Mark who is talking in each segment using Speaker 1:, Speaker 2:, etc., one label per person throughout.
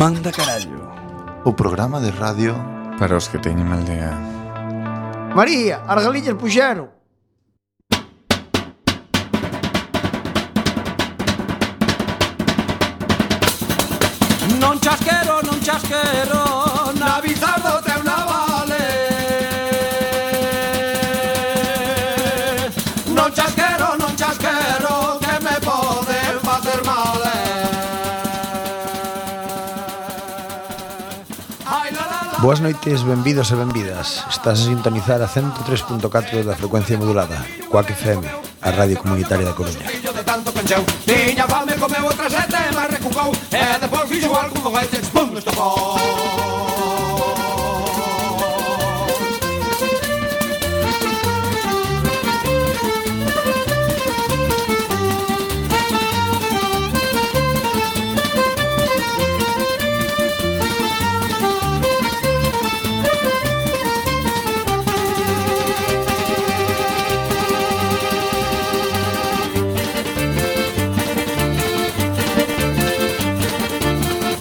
Speaker 1: Manda carallo
Speaker 2: O programa de radio
Speaker 3: Para os que teñen aldea
Speaker 4: María, as galillas puxeron.
Speaker 5: Non chasquero, non chasquero Na bizardo teu navale Non chasquero, non chasquero Que me poden facer mal eh. Ai, la, la, la.
Speaker 4: Boas noites, benvidos e benvidas. Estás a sintonizar a 103.4 da frecuencia modulada, Coac FM, a radio comunitaria da Coruña.
Speaker 5: Fillo de tanto pencheu Tiña fame, comeu outra sete e máis recucou E depois fixo algún foguete Pum, estopou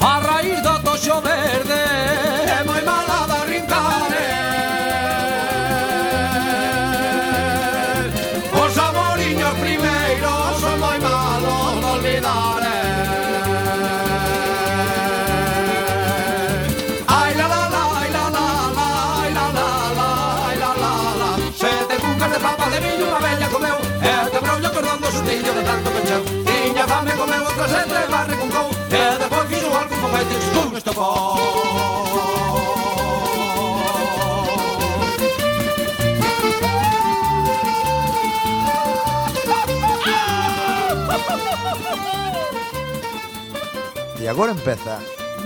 Speaker 5: A raíz do toxo verde É moi mala da rincare Os amoriños primeiros Son moi malos de olvidar eh. Ai la la la, ai la la la Ai la la la, ai la la la Sete cucas de papa de millo Unha bella comeu E te brollo cordando sustillo de tanto pecheu Tiña fame comeu outra sete e barre con cou E depois fixo algo con feites con estopou
Speaker 4: E agora empeza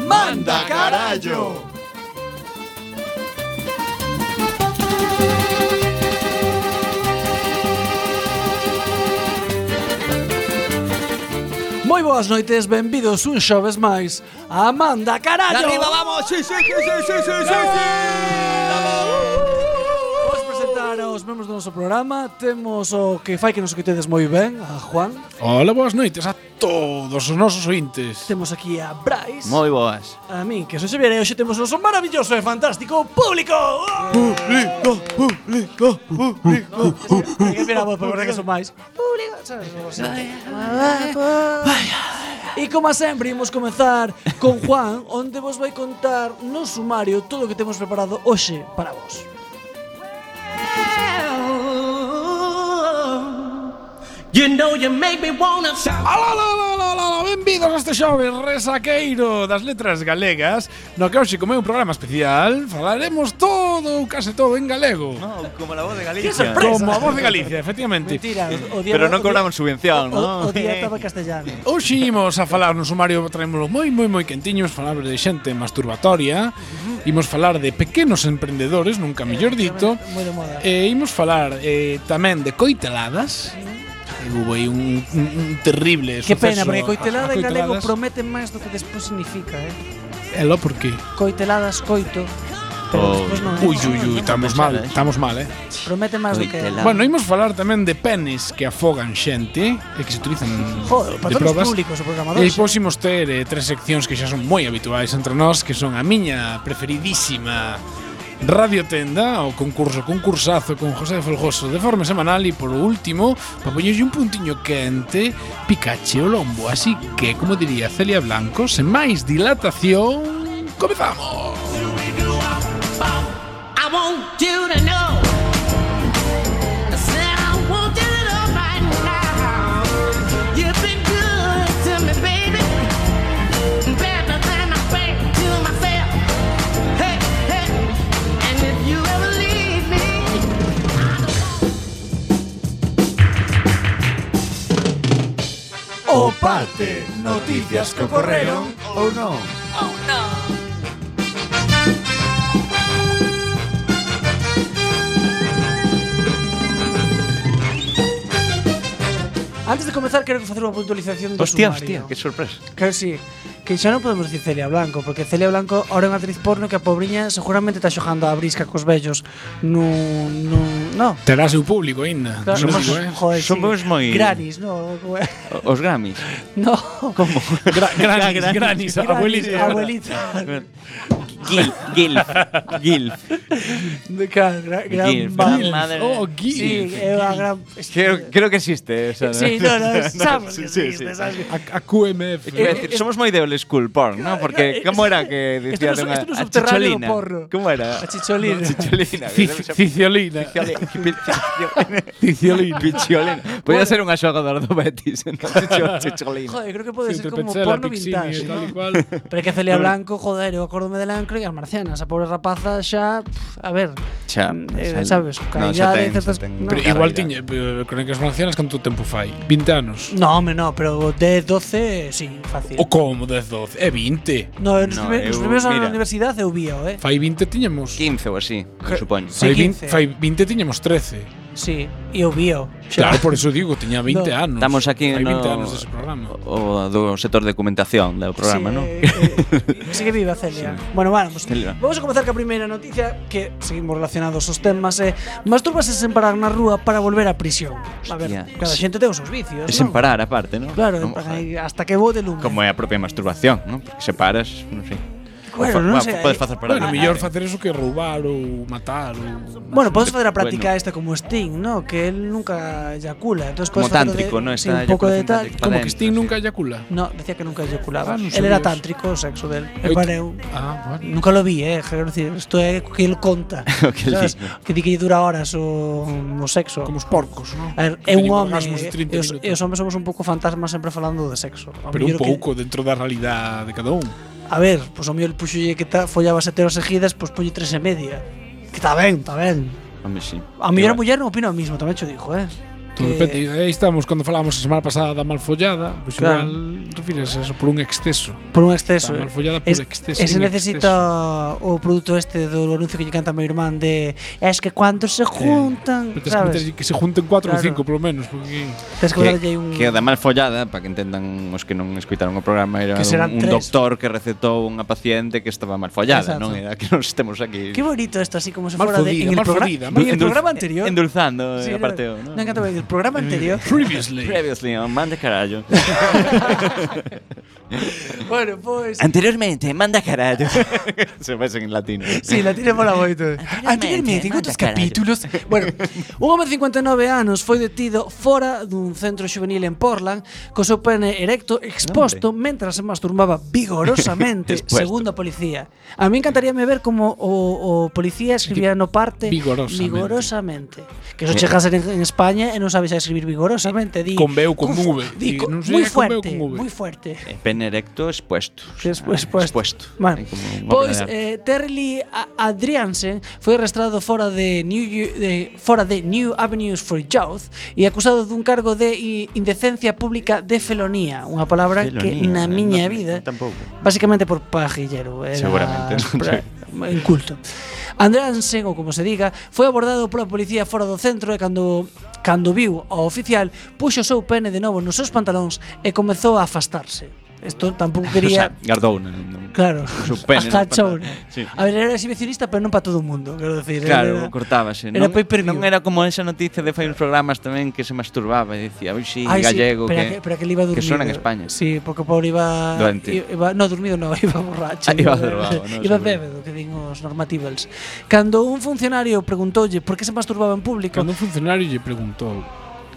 Speaker 5: Manda carallo.
Speaker 1: Moi boas noites, benvidos un xoves máis a Manda Carallo
Speaker 5: Arriba vamos. Sí, sí, sí, sí, sí, sí, sí.
Speaker 1: Vamos presentar aos membros do noso programa Temos o que fai que nos escoitedes moi ben, a Juan
Speaker 6: Hola, boas noites a todos os nosos ointes.
Speaker 1: Temos aquí a Bryce
Speaker 7: Moi boas.
Speaker 1: A min, que son Xavier e hoxe temos o noso maravilloso e fantástico público
Speaker 6: Público, público, público.
Speaker 1: Que mira, vos, para que son máis Público, sabes, como se- E como a sempre, imos comenzar con Juan Onde vos vai contar no sumario todo o que temos preparado hoxe para vos
Speaker 5: You know you make me wanna
Speaker 6: Alá, alá, alá, alá, alá, alá, benvidos a este xove resaqueiro das letras galegas No que hoxe como é un programa especial Falaremos todo ou case todo en galego
Speaker 7: No, como la voz de
Speaker 1: Que
Speaker 7: Galicia.
Speaker 1: sorpresa!
Speaker 6: Como a voz de Galicia, efectivamente
Speaker 1: Mentira, o, o día
Speaker 7: Pero
Speaker 1: o
Speaker 7: non
Speaker 1: día-
Speaker 7: cobramos subvención,
Speaker 1: O,
Speaker 7: ¿no?
Speaker 1: o día estaba castellano
Speaker 6: Hoxe imos a falar no sumario Traémoslo moi, moi, moi quentiños Falar de xente masturbatoria Imos falar de pequenos emprendedores Nunca mellor dito
Speaker 1: Eh, moi de moda.
Speaker 6: E imos falar eh, tamén de coiteladas Houve aí un, un, un terrible
Speaker 1: Que pena,
Speaker 6: suceso
Speaker 1: porque
Speaker 6: a-
Speaker 1: coitelada
Speaker 6: a
Speaker 1: en galego
Speaker 6: coiteladas.
Speaker 1: promete máis do que despois significa, eh?
Speaker 6: Elo, por qué?
Speaker 1: Coiteladas, coito,
Speaker 7: Oh.
Speaker 1: pero despois non é.
Speaker 6: Ui, ui, ui, estamos
Speaker 7: pensaba,
Speaker 6: mal,
Speaker 7: eh.
Speaker 6: estamos mal, eh
Speaker 1: Promete máis do que é.
Speaker 7: Coitelada.
Speaker 6: Bueno, imos falar tamén de penes que afogan xente E que se utilizan
Speaker 1: Joder, para
Speaker 6: de
Speaker 1: todos os
Speaker 6: probas
Speaker 1: públicos o programador.
Speaker 6: E pois imos ter eh, tres seccións que xa son moi habituais entre nós Que son a miña preferidísima Radio Tenda O concurso concursazo con José Folgoso de forma semanal E por último, para poñerlle un puntiño quente Picache o lombo Así que, como diría Celia Blanco, sen máis dilatación Comezamos
Speaker 8: I want you to know. I said I want you to know right now. You've been good to me, baby. Better than I've been to myself. Hey, hey. And if you ever leave me,
Speaker 1: O
Speaker 4: Parte noticias que ocorreron ou non
Speaker 1: Antes de comenzar, quero facer unha puntualización do
Speaker 7: Hostia, hostia,
Speaker 1: sumario.
Speaker 7: qué sorpresa.
Speaker 1: Que sí. que xa non podemos dicir Celia Blanco, porque Celia Blanco ahora é unha actriz porno que a pobriña seguramente está xojando a brisca cos vellos nun... nun no.
Speaker 6: Terá seu público aínda.
Speaker 1: Claro, somos,
Speaker 6: Non digo, eh.
Speaker 1: joder, sí.
Speaker 9: somos moi-
Speaker 1: Granis, no.
Speaker 9: Os Grammys.
Speaker 1: No.
Speaker 9: Como?
Speaker 6: Gra- granis, granis, abuelita.
Speaker 1: Granis, abuelita.
Speaker 9: Gil, Gil, Gil.
Speaker 1: De cara, gra- gran
Speaker 9: Gil,
Speaker 1: ma-
Speaker 9: gran madre.
Speaker 6: Oh,
Speaker 1: Sí, eh,
Speaker 6: Gil.
Speaker 1: é unha gran...
Speaker 9: Creo, creo que existe esa.
Speaker 1: Sí, no, no, sabes
Speaker 9: sí,
Speaker 1: que
Speaker 9: sí,
Speaker 1: existe,
Speaker 9: sí.
Speaker 1: sabes que-
Speaker 6: A, a QMF.
Speaker 9: Iba a decir, somos moi de old school porn, ¿no?
Speaker 1: eh,
Speaker 9: Porque, como era que
Speaker 1: esto no
Speaker 9: decía
Speaker 1: es-
Speaker 9: dunha-
Speaker 1: esto no es
Speaker 9: a
Speaker 1: subterráneo do
Speaker 9: chicholina?
Speaker 1: porro.
Speaker 9: Como era?
Speaker 1: A chicholina.
Speaker 9: Chicholina. que se-
Speaker 6: Ciciolina. Ciciolina.
Speaker 9: Picholina. Podía ser unha xogadora do Betis. ¿no? Chicho- Chicholina.
Speaker 1: Joder, creo que pode ser
Speaker 6: Cinto
Speaker 1: como
Speaker 6: Petzela,
Speaker 1: porno
Speaker 6: Pixini,
Speaker 1: vintage,
Speaker 6: tal y
Speaker 1: ¿no?
Speaker 6: cual.
Speaker 1: Pero é que Celia Blanco, joder, eu acordome de Lancro e as marcianas, a pobre rapaza xa, pff, a ver,
Speaker 9: Xa,
Speaker 1: eh,
Speaker 9: xa-
Speaker 1: sabes,
Speaker 9: no, xa
Speaker 1: calidade,
Speaker 9: ten,
Speaker 1: no, certas...
Speaker 9: xa ten
Speaker 1: No,
Speaker 6: Pero
Speaker 9: Carreira.
Speaker 6: igual tiña eh, crónicas marcianas canto tempo fai? 20 anos.
Speaker 1: no, home, no, pero 10, 12, sí, fácil.
Speaker 6: O como Eh, 10, 12? É 20.
Speaker 1: No, nos,
Speaker 9: Oh, No,
Speaker 1: primer, nos
Speaker 9: eu-
Speaker 1: primeiros anos
Speaker 9: mira.
Speaker 1: na universidade eu vía, eh.
Speaker 6: Fai 20 tiñamos.
Speaker 9: 15 ou así,
Speaker 6: Je-
Speaker 9: supoño.
Speaker 1: Sí,
Speaker 6: Fai
Speaker 1: 15.
Speaker 6: 20, fai 20 tiñamos 13.
Speaker 1: Sí, e eu vía.
Speaker 6: Claro, por eso digo, tiña 20
Speaker 1: No.
Speaker 6: anos.
Speaker 9: Estamos aquí
Speaker 6: Fai 20
Speaker 9: no-
Speaker 6: anos dese programa.
Speaker 9: O do sector de documentación do programa, non?
Speaker 1: Eh, eh, sí que vive a Celia. Bueno, vamos.
Speaker 9: Celia.
Speaker 1: Vamos a comenzar ca primeira noticia que seguimos relacionados os temas é eh, masturbarse sen parar na rúa para volver á prisión. A ver,
Speaker 9: Hostia. pues
Speaker 1: cada xente ten os seus vicios,
Speaker 9: E Sen
Speaker 1: non?
Speaker 9: parar, aparte, non?
Speaker 1: Claro, en
Speaker 9: Non,
Speaker 1: plan, aí, hasta que bote lume.
Speaker 9: Como é a propia masturbación, non? Porque se paras, non sei.
Speaker 1: Bueno,
Speaker 9: Ou fa-
Speaker 1: non
Speaker 9: bueno,
Speaker 1: sei,
Speaker 9: Podes
Speaker 1: eh,
Speaker 9: facer parar.
Speaker 6: Bueno, mellor facer eso que roubar ou matar ou...
Speaker 1: Bueno, podes facer a práctica
Speaker 9: Bueno.
Speaker 1: esta como Sting, ¿no? Que él nunca eyacula. Entonces podes
Speaker 9: Como
Speaker 1: facer
Speaker 9: tántrico,
Speaker 1: de,
Speaker 9: ¿no?
Speaker 1: Sí, un
Speaker 9: Esta
Speaker 1: poco de
Speaker 9: eyaculación
Speaker 1: tal.
Speaker 9: tántrica.
Speaker 6: Como
Speaker 9: Dentro,
Speaker 6: que Sting
Speaker 9: sí.
Speaker 6: nunca eyacula.
Speaker 1: No, decía que nunca eyaculaba.
Speaker 6: Ah, non
Speaker 1: él era
Speaker 6: sabía eso.
Speaker 1: tántrico, o sexo del.
Speaker 6: Eu-
Speaker 1: Me pareu.
Speaker 6: Ah, bueno.
Speaker 1: Nunca lo vi, eh. Quero decir, esto é o que él conta.
Speaker 9: O que el
Speaker 1: sabes?
Speaker 9: dice.
Speaker 1: Que di que dura horas o, o sexo.
Speaker 6: Como os porcos, non?
Speaker 1: A ver, é un home,
Speaker 6: Orgasmos de 30
Speaker 1: e os,
Speaker 6: minutos.
Speaker 1: e os homes somos un pouco fantasmas sempre falando de sexo. Ao
Speaker 6: Pero un
Speaker 1: mellor que-
Speaker 6: pouco dentro da realidade de cada un.
Speaker 1: a ver, pois o mellor puxolle que ta, follaba sete horas seguidas, pois poñe tres e media. Que está ben, está ben.
Speaker 9: Home, sí.
Speaker 1: A mellor a
Speaker 9: Igual.
Speaker 1: muller non opina o mismo, tamén cho dijo, eh.
Speaker 6: Todo depende. Aí estamos, cando falábamos a semana pasada da malfollada, pois
Speaker 1: Claro.
Speaker 6: igual refírese a eso por un exceso.
Speaker 1: Por un exceso. eh.
Speaker 6: Está mal follada por exceso,
Speaker 1: Ese
Speaker 6: en
Speaker 1: necesita o produto este do anuncio que lle canta a mi irmán de es que cuando se Eh, juntan,
Speaker 6: Pero tens que,
Speaker 1: sabes?
Speaker 6: meterlle que se junten 4 ou
Speaker 1: Claro.
Speaker 6: 5, polo menos, porque...
Speaker 1: Tens que darlle aí un
Speaker 9: que da mal follada, para que entendan os que non escuitaron o programa, era
Speaker 1: Que serán
Speaker 9: un, un
Speaker 1: tres.
Speaker 9: doctor que recetou unha paciente que estaba mal follada,
Speaker 1: Exacto.
Speaker 9: non era que nos estemos aquí
Speaker 1: Qué bonito esto, así como si
Speaker 6: Mal
Speaker 1: fuera de,
Speaker 6: fodida,
Speaker 1: en el,
Speaker 6: mal
Speaker 1: progra-
Speaker 6: fodida,
Speaker 1: en
Speaker 6: mal
Speaker 1: el
Speaker 9: endul-
Speaker 1: programa anterior.
Speaker 9: endulzando
Speaker 1: Sí, no,
Speaker 9: eh, a parteo, non?
Speaker 1: Me encanta ver el programa anterior.
Speaker 6: Previously.
Speaker 9: Previously on Manda Carallo.
Speaker 1: bueno, pues
Speaker 9: Anteriormente, Manda Carallo. Se pasa en latino.
Speaker 1: Sí, la tiremos la moito. Anteriormente,
Speaker 9: Anteriormente,
Speaker 1: en outros
Speaker 9: manda carallo.
Speaker 1: capítulos. Bueno, un home de 59 anos foi detido fora dun centro xuvenil en Portland co seu pene erecto exposto mentras se masturbaba vigorosamente,
Speaker 9: Expuesto.
Speaker 1: segundo a policía. A mí encantaríame ver como o, o policía escribía no parte
Speaker 6: Vigorosamente. Eh.
Speaker 1: vigorosamente. Que eso chega a ser en, en España e non sabes a escribir vigorosamente. Di,
Speaker 6: Con B ou con
Speaker 1: fu-
Speaker 6: V.
Speaker 1: Di,
Speaker 6: Di,
Speaker 1: co-
Speaker 6: non
Speaker 1: moi
Speaker 6: sei, é con B ou
Speaker 1: fuerte,
Speaker 6: con V.
Speaker 1: moi fuerte.
Speaker 9: Pene erecto expuesto.
Speaker 1: Después, expuesto.
Speaker 9: Ah, Expuesto.
Speaker 1: Vale.
Speaker 9: Hay como unha
Speaker 1: Pois
Speaker 9: obra de
Speaker 1: eh, Terry Lee A- Adriansen foi arrestado fora de New Yo- de, fora de New Avenues for Youth e acusado dun cargo de i- indecencia pública de felonía, unha palabra que
Speaker 9: Felonía,
Speaker 1: na
Speaker 9: eh,
Speaker 1: miña
Speaker 9: non-
Speaker 1: vida
Speaker 9: tampouco.
Speaker 1: Básicamente por pajillero. Era
Speaker 9: Seguramente, non
Speaker 1: pra- inculto. Andreasen, ou como se diga, foi abordado pola policía fora do centro e cando cando viu ao oficial, puxo o seu pene de novo nos seus pantalóns e comezou a afastarse. Isto tampouco
Speaker 9: arte. O sea,
Speaker 1: quería
Speaker 9: Gardouna. non-
Speaker 1: Claro.
Speaker 9: Su pene,
Speaker 1: Hasta
Speaker 9: non para-
Speaker 1: chou.
Speaker 9: Sí.
Speaker 1: A ver, era exhibicionista, pero non para todo o mundo, quero decir.
Speaker 9: Claro,
Speaker 1: era,
Speaker 9: cortábase.
Speaker 1: Era
Speaker 9: non,
Speaker 1: pay per view.
Speaker 9: non era como esa noticia de fai uns programas tamén que se masturbaba e dicía, oi si,
Speaker 1: Ai, sí,
Speaker 9: gallego,
Speaker 1: pero
Speaker 9: que,
Speaker 1: que, pero que, le iba dormido.
Speaker 9: que suena en España.
Speaker 1: Sí, porque o Pablo iba,
Speaker 9: Durante.
Speaker 1: iba- No, dormido no, iba borracho.
Speaker 9: Ah, iba drogado, no,
Speaker 1: Iba
Speaker 9: seguro.
Speaker 1: bebedo, que din os normativals. Cando un funcionario preguntoulle por que se masturbaba en público,
Speaker 6: Cando un funcionario lle preguntou,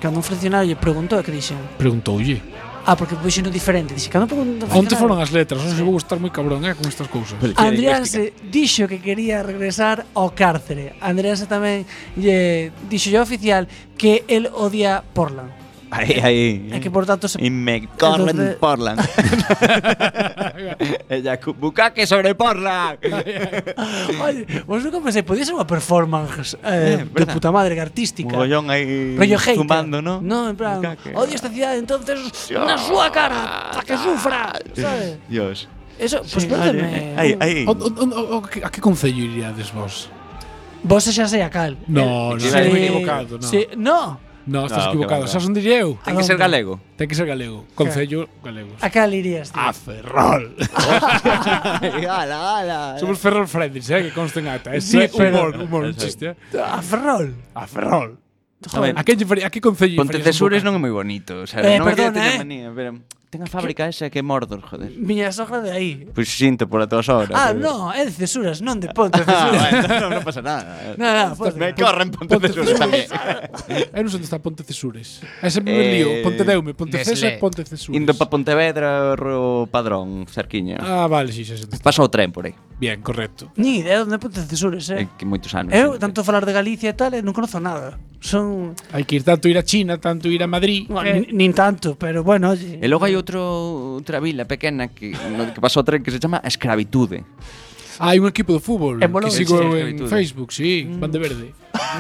Speaker 1: cando un funcionario lle preguntou, que dixen?
Speaker 6: preguntoulle.
Speaker 1: Ah, porque puxen no diferente. Dixe, cando preguntou
Speaker 6: Onte foron as letras, non se vou estar moi cabrón, eh, con estas cousas.
Speaker 1: Andreas dixo que quería regresar ao cárcere. Andreas tamén lle dixo ao oficial que el odia Portland.
Speaker 9: Aí, aí.
Speaker 1: É que por tanto se
Speaker 9: Y me corren
Speaker 1: Entonces-
Speaker 9: Portland. Ella bucaque sobre Portland.
Speaker 1: Oye, vos nunca pensé, podía ser unha performance eh,
Speaker 9: Eh,
Speaker 1: de
Speaker 9: verdad.
Speaker 1: puta madre, que artística.
Speaker 9: Mogollón ahí
Speaker 1: Rollo hater.
Speaker 9: zumbando, ¿no?
Speaker 1: No, en plan,
Speaker 9: Bucaque.
Speaker 1: odio esta ciudad, entonces, na súa cara, para que sufra, ¿sabes?
Speaker 9: Dios.
Speaker 1: Eso, pues
Speaker 9: Vale.
Speaker 1: perdeme.
Speaker 9: Ahí, ahí.
Speaker 6: O- o- o- o- que- A que concello iríades vos?
Speaker 1: Vos xa sei a cal.
Speaker 6: No, no,
Speaker 9: Sí,
Speaker 6: estou
Speaker 9: sí,
Speaker 6: equivocado, no.
Speaker 1: Sí, no.
Speaker 6: No, estás
Speaker 9: No, que
Speaker 6: equivocado.
Speaker 9: va, que va.
Speaker 6: Sabes onde lle eu?
Speaker 9: Ten que ser galego.
Speaker 6: Ten que ser galego. Concello galego.
Speaker 1: A cal irías, tío?
Speaker 6: A Ferrol.
Speaker 9: ala, ala.
Speaker 6: Somos Ferrol Fridays, eh, que consta en acta. Eh. Sí,
Speaker 1: Sí, pero-
Speaker 6: humor, humor, un chiste. eh.
Speaker 1: A Ferrol.
Speaker 6: A Ferrol.
Speaker 1: Joder.
Speaker 6: A que, lle faría- a que concello lle farías un
Speaker 9: Pontecesures
Speaker 6: boca?
Speaker 9: non é moi bonito, o sea,
Speaker 1: Eh,
Speaker 9: non me quero
Speaker 1: perdona,
Speaker 9: teña
Speaker 1: eh.
Speaker 9: manía, pero ten a fábrica esa que é Mordor, joder.
Speaker 1: Miña sogra de aí.
Speaker 9: Pois xinto por a tua sobra.
Speaker 1: Ah,
Speaker 9: joder.
Speaker 1: no, é de cesuras, non de ponte
Speaker 9: Ah,
Speaker 1: cesuras.
Speaker 9: bueno, non, non pasa nada.
Speaker 1: No, no, pues,
Speaker 9: Me corren Pontecesures tamén.
Speaker 6: Eu Eh, non sei onde está Pontecesures. Ese é o
Speaker 9: Eh,
Speaker 6: lío. Pontedeume, Pontecesa e
Speaker 10: Nestlé.
Speaker 6: Pontecesures.
Speaker 9: Indo pa Pontevedra, o Padrón, cerquiña.
Speaker 6: Ah, vale, sí, xa sei onde está.
Speaker 9: Pasa o tren por aí.
Speaker 6: Bien, correcto.
Speaker 1: Ni idea onde ponte cesuras, eh.
Speaker 9: É que moitos anos.
Speaker 1: Eu,
Speaker 9: eh.
Speaker 1: tanto falar de Galicia e tal, eh, non conozo nada. Son...
Speaker 6: Hai que ir tanto ir a China, tanto ir a Madrid. Eh,
Speaker 1: Bueno, nin- nin tanto, pero bueno, oye.
Speaker 9: E logo hai outro outra vila pequena que no que pasa o tren que se chama Escravitude.
Speaker 6: Hai un equipo de fútbol
Speaker 1: En Bolonia. Mm.
Speaker 6: que sigo
Speaker 9: Sí,
Speaker 6: eu en
Speaker 9: escravitude.
Speaker 6: Facebook, sí, van de verde.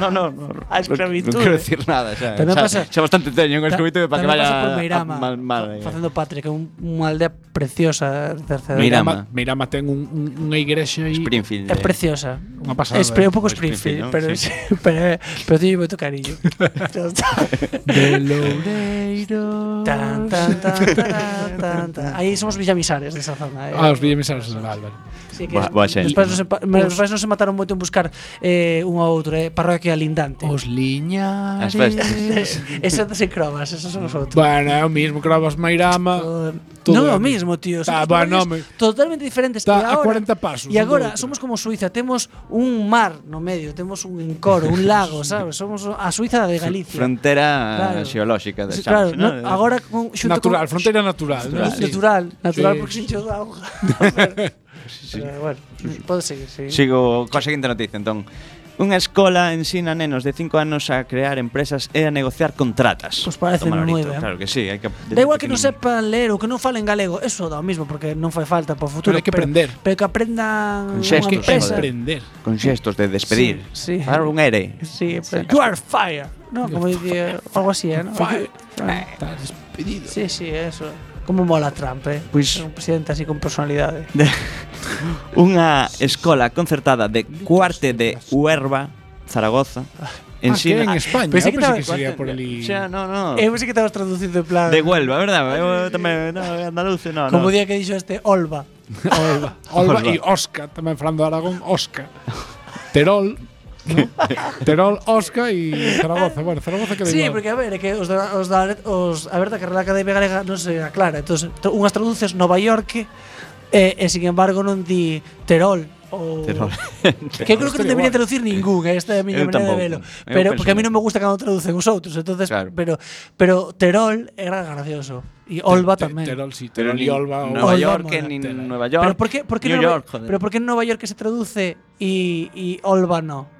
Speaker 9: No, no, no.
Speaker 1: A
Speaker 9: Non
Speaker 1: escravitude.
Speaker 9: quero decir nada, xa.
Speaker 1: Tamén
Speaker 9: xa,
Speaker 1: pasa-
Speaker 9: xa bastante teño con Escravitude para que
Speaker 1: Tamén
Speaker 9: vaya
Speaker 1: pasa por
Speaker 9: a-
Speaker 1: Meirama,
Speaker 9: mal mal.
Speaker 1: fa-
Speaker 9: eh.
Speaker 1: Facendo patria, que é un- unha aldea preciosa de terceira edade.
Speaker 9: Meirama.
Speaker 6: Ma- Meirama ten un, un, unha igrexa aí.
Speaker 9: Springfield.
Speaker 1: É
Speaker 9: eh.
Speaker 1: preciosa.
Speaker 6: Unha pasada,
Speaker 1: Es, pero é un
Speaker 6: eh.
Speaker 1: pouco
Speaker 9: Pois
Speaker 1: Springfield,
Speaker 9: Springfield,
Speaker 1: pero,
Speaker 9: non?
Speaker 1: sí. pero, pero teño moito cariño.
Speaker 6: De Loure.
Speaker 1: tan, tan, tan, tan, tan, tan. Aí somos villamisares desa zona. Eh.
Speaker 6: Ah, os Villamisares de Galván.
Speaker 1: Sí que
Speaker 9: Boa-
Speaker 1: es-
Speaker 9: boa xente.
Speaker 1: Meus pais non se, pa- meus pais non se mataron moito en buscar eh, un ao outro, eh, parroquia lindante.
Speaker 6: Os Liñares.
Speaker 9: As festas.
Speaker 1: Eso das en crobas, esos son os outros.
Speaker 6: Bueno, é o mismo, Cravas Meirama.
Speaker 1: Todo-
Speaker 6: todo
Speaker 1: non é
Speaker 6: Ah, é
Speaker 1: o
Speaker 6: o
Speaker 1: mismo, tío. Son
Speaker 6: Tá, bueno, me-
Speaker 1: totalmente diferentes.
Speaker 6: Está
Speaker 1: E
Speaker 6: a 40 pasos un
Speaker 1: E
Speaker 6: do
Speaker 1: agora
Speaker 6: outro.
Speaker 1: somos como Suiza, temos un mar no medio, temos un encoro, un lago, sabes? Somos a Suiza de Galicia.
Speaker 9: Frontera
Speaker 1: Claro.
Speaker 9: xeolóxica da
Speaker 1: Sí,
Speaker 9: xa.
Speaker 1: Claro, no, agora con, xunto
Speaker 6: Natural,
Speaker 1: con,
Speaker 6: fronteira natural.
Speaker 1: Natural,
Speaker 6: ¿no? Sí.
Speaker 1: natural, natural
Speaker 6: Sí.
Speaker 1: porque sin cheo de auga. Pero, bueno, pode seguir, sí.
Speaker 9: Sigo coa seguinte noticia, entón. Unha escola ensina a nenos de 5 anos a crear empresas e a negociar contratas.
Speaker 1: Pois Pues parece
Speaker 9: Toma,
Speaker 1: moi
Speaker 9: Lorito,
Speaker 1: ben.
Speaker 9: Claro que sí, hai que
Speaker 1: Da igual que non
Speaker 9: pequeniño.
Speaker 1: sepan ler ou que non falen galego, eso dá o mismo porque non fai falta para o futuro.
Speaker 6: Pero hai que aprender.
Speaker 1: Pero, que aprendan
Speaker 9: Con
Speaker 1: unha
Speaker 9: xestos,
Speaker 1: empresa.
Speaker 9: joder.
Speaker 6: Aprender.
Speaker 9: con xestos de despedir.
Speaker 1: Sí, sí.
Speaker 9: Dar un ere.
Speaker 1: Sí, pero you are fire, ¿no? Como dice, algo así, ¿eh? ¿no?
Speaker 6: Fire.
Speaker 1: Ah,
Speaker 6: Está despedido.
Speaker 1: Sí, sí, eso. Como mola Trump, ¿eh?
Speaker 9: Pois-
Speaker 1: Es un presidente así con personalidades.
Speaker 9: Unha escola concertada de Cuarte de Huerva, Zaragoza,
Speaker 6: Ensina.
Speaker 9: ensina
Speaker 6: en España.
Speaker 1: pensei
Speaker 6: Pensei
Speaker 1: Ah, que
Speaker 6: Ah, que,
Speaker 1: estaba
Speaker 6: que sería por ali.
Speaker 9: Xa, no, no.
Speaker 1: Eh, pues sí que estabas traducido en plan.
Speaker 9: De Huelva, verdad? Eu tamén, no, andaluz, no,
Speaker 1: como
Speaker 9: no.
Speaker 1: día que dixo este, Olva.
Speaker 6: Olva. Olva
Speaker 9: Olva.
Speaker 6: e Osca, tamén falando de Aragón, Osca. Terol. ¿no? Terol, Osca e Zaragoza. Bueno, Zaragoza que
Speaker 1: Sí, porque a ver, é que os da, os da, os, a verdad que a Real Academia Galega non se aclara. Entonces, to- unhas traduces Nova York e, e sin embargo non di Terol ou
Speaker 9: Terol.
Speaker 1: Que creo que non
Speaker 6: Estaría
Speaker 1: debería
Speaker 6: guai.
Speaker 1: traducir ningún, eh, esta é a miña
Speaker 9: Eu
Speaker 1: maneira de
Speaker 9: tampouco.
Speaker 1: velo.
Speaker 9: Eu
Speaker 1: Pero
Speaker 9: penso
Speaker 1: porque a mí
Speaker 9: no.
Speaker 1: non me gusta cando traducen os outros, entonces
Speaker 9: Claro.
Speaker 1: pero pero Terol era gracioso e Olva tamén.
Speaker 6: Terol, sí. Terol e Olva.
Speaker 9: Nueva
Speaker 1: Olva
Speaker 9: York,
Speaker 1: mola.
Speaker 9: en
Speaker 6: Tela.
Speaker 9: Nueva York.
Speaker 1: Pero por qué por qué
Speaker 9: New
Speaker 1: Nova-
Speaker 9: York, joder.
Speaker 1: pero por qué en Nova York se traduce e e Olva no?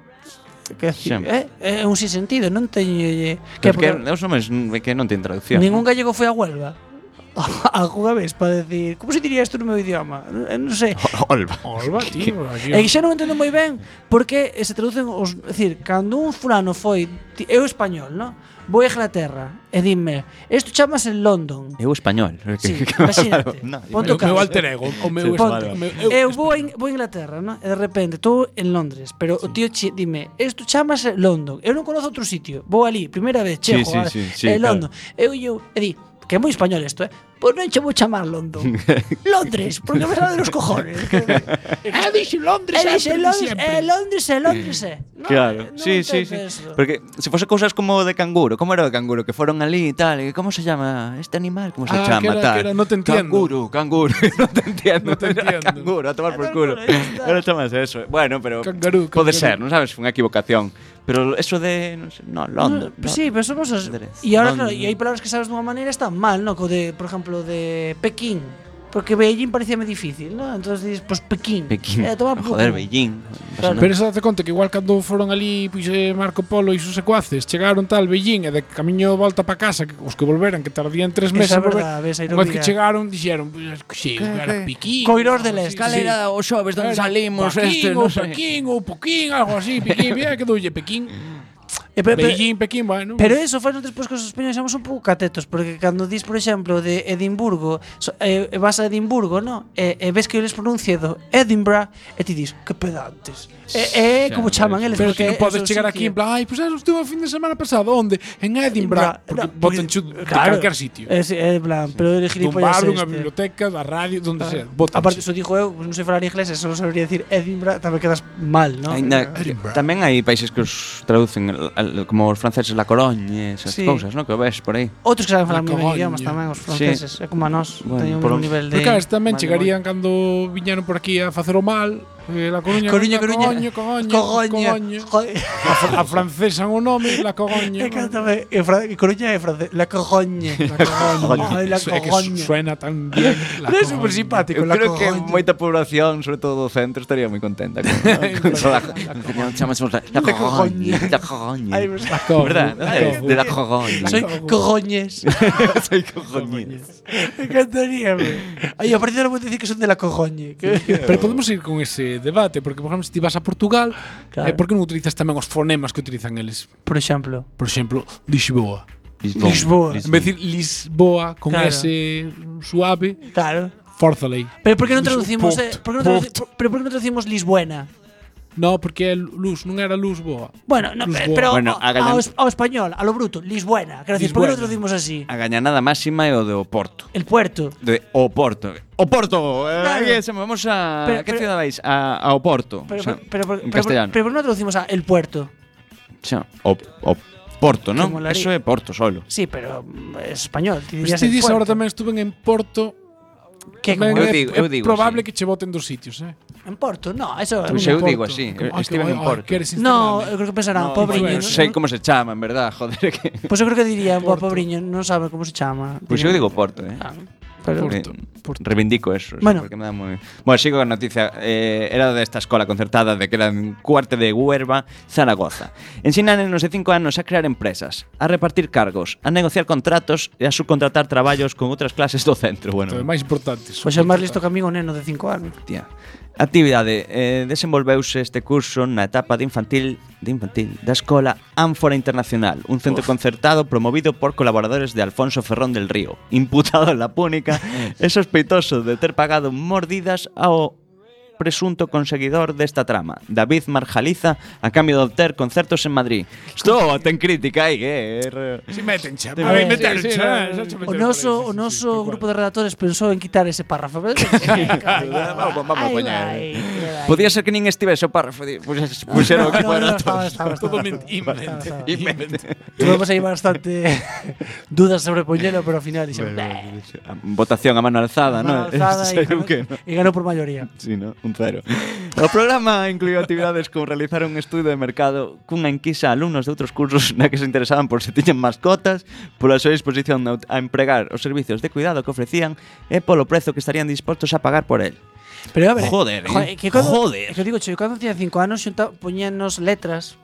Speaker 1: Que
Speaker 9: Sí.
Speaker 1: é eh? é un sin sentido, non teño que
Speaker 9: Que porque os nomes é que non ten traducción.
Speaker 1: Ningún gallego foi a Huelva. Alguna vez para decir, como se diría isto no meu idioma? Eh, Non sei.
Speaker 9: Olva.
Speaker 6: Olva, tío. aquí-
Speaker 1: E que xa non entendo moi ben porque se traducen os, é dicir, cando un fulano foi, ti- eu español, no? Vou a Inglaterra e dime, isto chamas en London.
Speaker 9: Eu español.
Speaker 1: Sí, imagínate. Ponte o
Speaker 6: O meu
Speaker 1: caso.
Speaker 6: alter ego. O meu
Speaker 1: Ponte,
Speaker 6: o meu-
Speaker 1: eu vou a, In- vou a Inglaterra, no? e de repente estou en Londres, pero o tío che, dime, isto chamas London, eu non conozo outro sitio, vou ali, primeira vez, che,
Speaker 9: Sí,
Speaker 1: joder,
Speaker 9: sí, sí, sí,
Speaker 1: eh,
Speaker 9: claro.
Speaker 1: London, eu, eu, e di, que é moi español isto, eh? Pois non che vou chamar London. Londres, porque me sale dos cojones.
Speaker 6: Ah, dixe Londres. eh,
Speaker 1: E dixe
Speaker 6: sempre,
Speaker 1: Londres,
Speaker 6: sempre.
Speaker 1: é Londres, é Londres, eh. é. No,
Speaker 9: Claro,
Speaker 1: non
Speaker 9: sí, sí, sí.
Speaker 1: entendo eso.
Speaker 9: Porque se fose cousas como de canguro, como era o de canguro que foron ali e tal, e como se llama este animal, como se
Speaker 6: Ah,
Speaker 9: chama
Speaker 6: que era-
Speaker 9: tal.
Speaker 6: que era, no te entiendo.
Speaker 9: Canguro, canguro, no te entiendo.
Speaker 6: No te
Speaker 9: era
Speaker 6: entiendo.
Speaker 9: Canguro, a tomar por
Speaker 1: Era
Speaker 9: culo.
Speaker 1: canguro, ya está.
Speaker 9: Era chamas eso. Bueno, pero
Speaker 6: Cangarú, cangarú.
Speaker 9: pode ser, non sabes, foi unha equivocación. Pero eso de, non sei, no, London.
Speaker 1: Pues sí, pero somos os...
Speaker 9: Londres.
Speaker 1: E ahora, claro,
Speaker 9: Londres.
Speaker 1: e hai palabras que sabes dunha maneira e están mal, no? Co de, por exemplo, de Pekín. Porque Beijing parecíame difícil, no? Entonces dices, pues Pekín.
Speaker 9: Pekín.
Speaker 1: Eh, toma por
Speaker 9: Joder,
Speaker 1: culo.
Speaker 9: Beijing.
Speaker 1: Claro.
Speaker 6: Pero eso date conta que igual cando foron ali pois, eh, Marco Polo e os seus secuaces Chegaron tal, Beijing, e de camiño volta para casa que, Os que volveran, que tardían tres meses
Speaker 1: Esa é
Speaker 6: en volver,
Speaker 1: verdad, ves, a
Speaker 6: Unha vez que
Speaker 1: ironía.
Speaker 6: chegaron, dixeron Pois pues, sí, era Piquín
Speaker 1: Coirós del Este.
Speaker 6: Cal era
Speaker 10: o xoves
Speaker 6: Era Paquín ou Pequín ou Poquín, algo así Piquín, mira que doulle Pequín
Speaker 1: E Eh, pero- pero-
Speaker 6: Beijing, Pekín, bueno.
Speaker 1: Pero eso faz despois que os españoles somos un pouco catetos Porque cando dis, por exemplo, de Edimburgo so, eh, Vas a Edimburgo, no? E, e ves que eles pronuncia do Edinburgh E ti dis, que pedantes E, e
Speaker 9: Xa,
Speaker 1: como chaman
Speaker 9: pero-
Speaker 1: eles
Speaker 6: Pero
Speaker 1: porque
Speaker 6: que non
Speaker 1: é
Speaker 6: podes
Speaker 1: o seu
Speaker 6: chegar
Speaker 1: sitio.
Speaker 6: aquí en plan, ai, pois pues, estuve o fin de semana pasado, onde? En Edinburgh,
Speaker 1: Edinburgh,
Speaker 6: porque
Speaker 1: no,
Speaker 6: botan chu de
Speaker 1: claro,
Speaker 6: calquer sitio.
Speaker 1: É, sí, é en plan, pero de
Speaker 6: Dun
Speaker 1: gilipollas
Speaker 6: bar, dunha
Speaker 1: este. Ah,
Speaker 6: biblioteca, da radio, donde sea, botan
Speaker 1: Aparte, iso dixo eu, non sei falar inglés, eso non sabría decir Edinburgh, tamén quedas mal, non?
Speaker 9: Ainda, tamén hai países que os traducen al- al- como os franceses la Coroña, esas
Speaker 1: Sí.
Speaker 9: cousas, non? Que o ves por aí.
Speaker 1: Outros que saben falar
Speaker 6: La
Speaker 1: moi ben
Speaker 6: Coruña.
Speaker 1: idiomas tamén, os franceses, é como a nós,
Speaker 9: Bueno,
Speaker 1: teñen
Speaker 9: por
Speaker 1: un
Speaker 9: lo-
Speaker 1: nivel de...
Speaker 6: Porque claro, tamén
Speaker 9: Vale,
Speaker 6: chegarían cando viñeron por aquí a facer o mal, eh, la Coruña,
Speaker 1: Coruña, Coruña,
Speaker 6: Cogoña,
Speaker 1: Cogoña,
Speaker 6: Cogoña.
Speaker 1: Cogoña.
Speaker 6: A, fr- a francesan o nome, la Cogoña.
Speaker 1: Me encanta, me- en fra- en Coruña es francés. La cojoña. Ay, La
Speaker 6: Eso é que su-
Speaker 1: cojoña.
Speaker 6: suena tan bien. la
Speaker 1: Pero es
Speaker 6: Cogoña.
Speaker 1: súper simpático.
Speaker 9: Eu
Speaker 1: La
Speaker 9: creo que
Speaker 1: cojoña.
Speaker 9: moita población, sobre todo do centro, estaría moi contenta con, con, con la, chamamos la, la Cogoña, la Cogoña.
Speaker 1: Ay, pues,
Speaker 6: La Cogoña.
Speaker 9: ¿Verdad?
Speaker 6: La
Speaker 9: Eh,
Speaker 6: Cogoña.
Speaker 9: De la Cogoña.
Speaker 1: Soy
Speaker 6: cojoña.
Speaker 1: cojoñes.
Speaker 9: soy Cogoña.
Speaker 1: Me encantaría. me. Ay, aparte ahora voy a decir que son de la cojoña. Que-
Speaker 6: Pero podemos ir con ese debate, porque, por exemplo, se ti vas a Portugal,
Speaker 1: Claro.
Speaker 6: eh, por que non utilizas tamén os fonemas que utilizan eles?
Speaker 1: Por ejemplo,
Speaker 6: Por exemplo, Lisboa.
Speaker 1: Lisboa.
Speaker 6: En vez de decir Lisboa con
Speaker 1: Claro.
Speaker 6: ese suave,
Speaker 1: Claro.
Speaker 6: forzalei.
Speaker 1: Pero ¿por qué no
Speaker 6: Lis-
Speaker 1: traducimos,
Speaker 6: Port-
Speaker 1: eh, por qué no traduci-
Speaker 6: Port.
Speaker 1: por- pero por qué no traducimos Lisbuena?
Speaker 6: No, porque é luz, non era luz boa.
Speaker 1: Bueno, no, pe-
Speaker 6: Lisboa.
Speaker 1: pero
Speaker 9: Bueno,
Speaker 1: a- ao
Speaker 9: hágalo.
Speaker 1: es- ao español, a lo bruto, Lisbuena. Quiero decir, ¿por qué no traducimos
Speaker 6: Lisbuena.
Speaker 1: así?
Speaker 9: A gañanada máxima é o de Oporto.
Speaker 1: El puerto.
Speaker 9: De Oporto. Oporto. Eh,
Speaker 1: Claro.
Speaker 9: ahí es, vamos a
Speaker 1: Pero-
Speaker 9: ¿a ¿Qué
Speaker 1: pero-
Speaker 9: ciudad vais? A, a Oporto.
Speaker 1: Pero,
Speaker 9: o sea,
Speaker 1: pero, pero, pero-
Speaker 9: en
Speaker 1: pero-
Speaker 9: castellano.
Speaker 1: pero ¿por qué no traducimos a el puerto?
Speaker 9: O sea, Op- Oporto,
Speaker 1: Que
Speaker 9: ¿no?
Speaker 1: molaría.
Speaker 9: Eso es Porto solo.
Speaker 1: Sí, pero mm, es español. te
Speaker 6: Pero
Speaker 1: dirías
Speaker 6: se
Speaker 1: el
Speaker 6: dis
Speaker 1: puerto.
Speaker 6: ahora tamén estuven en Porto,
Speaker 1: Que
Speaker 6: tamén
Speaker 1: como-
Speaker 6: é,
Speaker 9: Eu digo-
Speaker 6: é
Speaker 9: eu digo,
Speaker 6: probable
Speaker 9: sí.
Speaker 6: que che boten dos sitios, eh?
Speaker 1: En Porto, no, eso
Speaker 9: Pois
Speaker 1: no.
Speaker 9: eu digo así,
Speaker 6: Como, "Ai, que
Speaker 9: estiven en
Speaker 6: guai, ai,
Speaker 9: Porto".
Speaker 6: que eres
Speaker 1: No,
Speaker 6: Instagram. eh?
Speaker 1: eu creo que pensarán,
Speaker 9: no,
Speaker 1: pobriño.
Speaker 9: bueno,
Speaker 1: non-
Speaker 9: no sé cómo se llama, en verdad, joder. Que...
Speaker 1: Pois eu creo que diría, "Buah, pobriño, non sabe como se chama.
Speaker 9: Pues yo digo Porto, ¿eh?
Speaker 1: Ah, pero
Speaker 9: Eh,
Speaker 6: Porto,
Speaker 9: Reivindico eso.
Speaker 1: Bueno.
Speaker 9: Bueno. Porque me da muy... bueno, sigo con noticia. Eh, era de esta escuela concertada de que era en cuarte de Huerva, Zaragoza. Ensinan en los de 5 años a crear empresas, a repartir cargos, a negociar contratos e a subcontratar traballos con outras clases do centro. Bueno,
Speaker 6: Todo é máis importante.
Speaker 1: pois é máis listo que amigo neno de 5 anos.
Speaker 9: Hostia. Actividade eh, desenvolveuse este curso na etapa de infantil de infantil da Escola Ánfora Internacional, un centro concertado promovido por colaboradores de Alfonso Ferrón del Río, imputado en la púnica e sospeitoso de ter pagado mordidas ao presunto conseguidor desta trama, David Marjaliza, a cambio de obter concertos en Madrid. Estou, ten crítica aí, eh. re-
Speaker 6: Si meten chapa. A
Speaker 9: Sí,
Speaker 6: ver,
Speaker 9: sí,
Speaker 6: meteron
Speaker 9: sí,
Speaker 6: chapa.
Speaker 9: sí,
Speaker 6: xa
Speaker 9: sí.
Speaker 6: che
Speaker 1: O
Speaker 6: meteron
Speaker 1: noso, o
Speaker 6: por aí, sí, sí, sí,
Speaker 1: noso
Speaker 6: tal
Speaker 1: grupo
Speaker 6: cual.
Speaker 1: de redactores pensou en quitar ese párrafo.
Speaker 9: Vamos, vamos,
Speaker 1: Ai,
Speaker 9: coña,
Speaker 1: vai,
Speaker 9: eh.
Speaker 1: vai.
Speaker 9: Podía ser que nin estivese o párrafo, di- puxes- puxeron o que
Speaker 1: No, no,
Speaker 9: fuera todo.
Speaker 1: estaba, estaba,
Speaker 6: Todo
Speaker 1: estaba,
Speaker 6: ment-
Speaker 1: estaba, estaba,
Speaker 6: invent.
Speaker 1: estaba.
Speaker 6: Invent.
Speaker 1: Tuvimos aí bastante dudas sobre poñelo, pero ao final dixemos, "Bleh".
Speaker 9: Votación a mano alzada,
Speaker 1: Mano
Speaker 9: ¿no?
Speaker 1: alzada e
Speaker 9: Saiu
Speaker 1: ganó-
Speaker 9: que no.
Speaker 1: e ganou por maioría.
Speaker 9: Sí, ¿no? Un cero. O programa incluiu actividades como realizar un estudo de mercado cunha enquisa a alumnos de outros cursos na que se interesaban por se tiñan mascotas, pola súa disposición na- a empregar os servicios de cuidado que ofrecían e polo prezo que estarían dispostos a pagar por el.
Speaker 1: Pero a ver,
Speaker 9: Joder, eh.
Speaker 1: que cando,
Speaker 9: Joder.
Speaker 1: é Que digo, che, eu cando tiña 5 anos xunta, poñíanos letras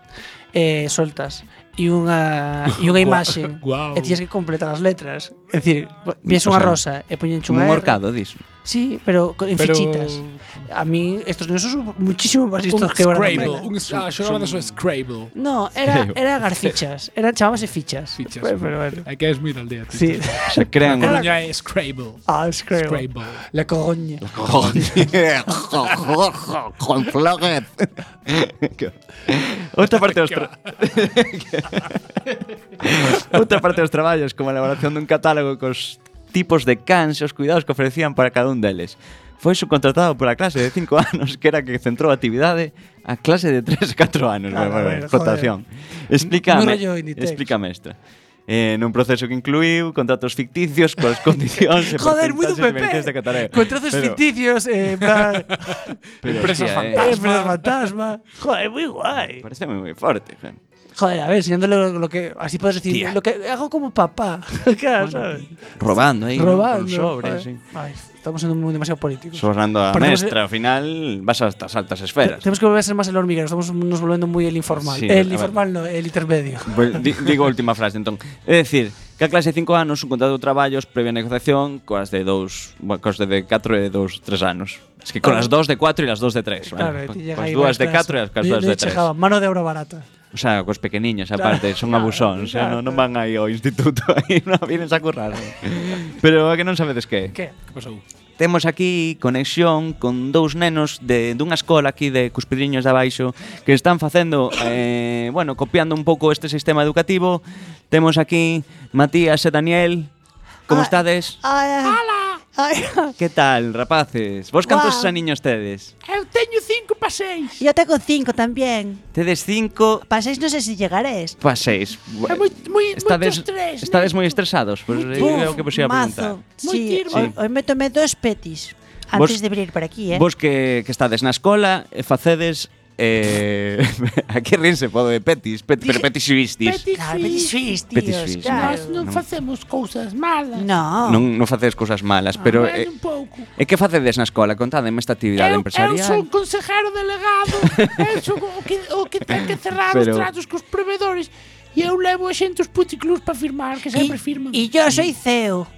Speaker 1: eh, soltas e unha e unha imaxe
Speaker 6: Guau.
Speaker 1: e tías que completar as letras. É dicir, vías
Speaker 9: O
Speaker 1: unha
Speaker 9: sea,
Speaker 1: rosa e poñen
Speaker 9: Un
Speaker 1: chunga.
Speaker 9: mercado, dis.
Speaker 1: Sí, pero co- en
Speaker 6: Pero-
Speaker 1: fichitas. A mí estos nenos son muchísimo máis
Speaker 6: Un
Speaker 1: listos que van a
Speaker 6: Scrabble.
Speaker 1: novela.
Speaker 6: Un, ah, xogaba de Scrabble.
Speaker 1: No, era era garfichas, eran chamábase fichas.
Speaker 6: Fichas.
Speaker 1: Pero, pero bueno.
Speaker 6: Hai que es moi da aldea. tío.
Speaker 1: Sí.
Speaker 9: Se crean un...
Speaker 6: Coruña é Scrabble.
Speaker 1: Ah, Scrabble.
Speaker 6: Scrabble.
Speaker 1: La cogoña.
Speaker 9: Juan Floguet. Outra parte dos tra- Outra parte dos traballos como a elaboración dun catálogo cos tipos de cans e os cuidados que ofrecían para cada un deles. Foi subcontratado pola clase de 5 anos que era a que centrou a actividade a clase de 3 e 4 anos.
Speaker 1: Claro,
Speaker 9: Claro, bueno,
Speaker 1: bueno,
Speaker 9: bueno, rotación.
Speaker 1: Moi
Speaker 9: Explícame,
Speaker 1: rollo Inditex.
Speaker 9: explícame esta. Eh, nun proceso que incluiu contratos ficticios coas condicións e
Speaker 1: Joder, moi do
Speaker 9: porcentaxes de
Speaker 1: PP.
Speaker 9: beneficios da catarea.
Speaker 1: Contratos
Speaker 9: Pero-
Speaker 1: ficticios, eh, en plan,
Speaker 9: pero,
Speaker 6: Empresas
Speaker 9: hostia, eh,
Speaker 1: eh, pero fantasma. Joder, moi guai.
Speaker 9: Parece muy, muy fuerte, Juan.
Speaker 1: Joder, a ver, enseñándole lo, lo que. Así puedes decir,
Speaker 9: Tía.
Speaker 1: lo que hago como papá. claro, ¿sabes?
Speaker 9: Robando ahí. ¿no?
Speaker 1: Robando.
Speaker 9: Con sobres,
Speaker 1: joder.
Speaker 9: sí.
Speaker 1: Ay, estamos siendo muy demasiado políticos.
Speaker 9: Sobrando a
Speaker 1: Parecemos-
Speaker 9: Mestra, al final vas a estas altas
Speaker 1: Te-
Speaker 9: esferas.
Speaker 1: Tenemos que volver a ser más el hormiguero, estamos nos volviendo muy el informal.
Speaker 9: Sí, a
Speaker 1: el
Speaker 9: ver.
Speaker 1: informal no, el intermedio.
Speaker 9: Pues, di- digo a última frase, entón. É dicir, que a clase de 5 anos un contrato de traballos previa negociación coas de 2, bueno, coas de 4 e 2, 3 anos. Es que con as 2 de 4 e as 2 de 3,
Speaker 1: Claro, y te llega
Speaker 9: Coas
Speaker 1: ahí
Speaker 9: dúas de
Speaker 1: bastante-
Speaker 9: 4 e as
Speaker 1: Yo-
Speaker 9: dúas
Speaker 1: yo
Speaker 9: de
Speaker 1: chegaba,
Speaker 9: 3.
Speaker 1: mano de obra barata.
Speaker 9: O sea, cos pequeniños, aparte, son abusóns, eh, non, non van aí ao instituto, aí non vienes a currar. Pero é que non sabedes que.
Speaker 1: Que?
Speaker 6: Que pasou?
Speaker 9: Temos aquí conexión con dous nenos de dunha escola aquí de Cuspidriños de Abaixo que están facendo, eh, bueno, copiando un pouco este sistema educativo. Temos aquí Matías e Daniel. Como
Speaker 10: Ah,
Speaker 9: estades?
Speaker 10: eh. Hola.
Speaker 9: Que tal, rapaces? Vos cantos
Speaker 10: Guau.
Speaker 9: xa niños tedes?
Speaker 6: Eu teño cinco para seis.
Speaker 10: Yo tengo cinco también.
Speaker 9: Tedes cinco
Speaker 10: Para seis no sé si llegaréis.
Speaker 9: pa seis. Bueno, estades, estades moi estresados, pois pues,
Speaker 10: Puf,
Speaker 9: é o que vos ia preguntar.
Speaker 10: mazo. Sí,
Speaker 9: tirbo.
Speaker 10: hoy, hoy me tomé dos petis antes
Speaker 9: Vos-
Speaker 10: de venir para aquí, ¿eh?
Speaker 9: Vos que, que estades na escola e facedes eh, aquí rinse podo de petis, pet, pero petis suistis.
Speaker 10: Claro, Ah, petis suís, tíos,
Speaker 9: Petis suís,
Speaker 10: claro.
Speaker 9: non,
Speaker 5: Facemos cousas malas.
Speaker 10: No.
Speaker 9: non, non facedes cousas malas, pero
Speaker 5: Ah, Bueno,
Speaker 9: eh,
Speaker 5: un pouco.
Speaker 9: e que facedes na escola? Contademe esta actividade
Speaker 5: Eu, eu
Speaker 9: empresarial.
Speaker 5: sou consejero delegado, eu sou o que, o que ten que cerrar os
Speaker 9: Pero-
Speaker 5: tratos cos proveedores e eu levo a xente os puticlús para firmar, que sempre firman.
Speaker 10: y yo soy CEO.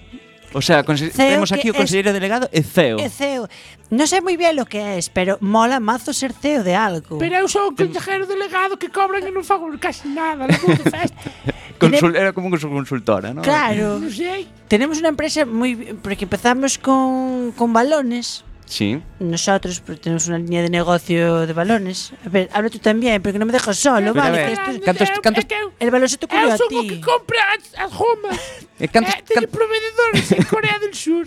Speaker 9: O sea, conse-
Speaker 10: Ceo
Speaker 9: temos aquí
Speaker 10: que
Speaker 9: o conselleiro delegado e CEO.
Speaker 10: Eh, CEO. No sé muy bien lo que es, pero mola mazo ser CEO de algo.
Speaker 5: Pero eu sou o consejero delegado que cobran e non fago casi nada, levo de festa.
Speaker 9: Consul, era como su consultora, ¿no?
Speaker 10: claro.
Speaker 5: non sei.
Speaker 10: Tenemos una empresa muy. Porque empezamos con, con balones.
Speaker 9: Sí.
Speaker 10: Nosotros pues, tenemos una línea de negocio de balones. A ver, habla tú también, porque no me dejas solo,
Speaker 9: Pero a
Speaker 10: ¿vale?
Speaker 9: ver,
Speaker 10: que esto es-
Speaker 9: cantos-
Speaker 5: Eu-
Speaker 9: cantos-
Speaker 5: é que eu-
Speaker 10: el balón se te
Speaker 5: Eu
Speaker 10: ocurrió a
Speaker 5: sou o que
Speaker 10: ti.
Speaker 5: compra as, as gomas.
Speaker 9: E cantos-
Speaker 5: eh, teño
Speaker 9: can-
Speaker 5: proveedores en Corea del Sur.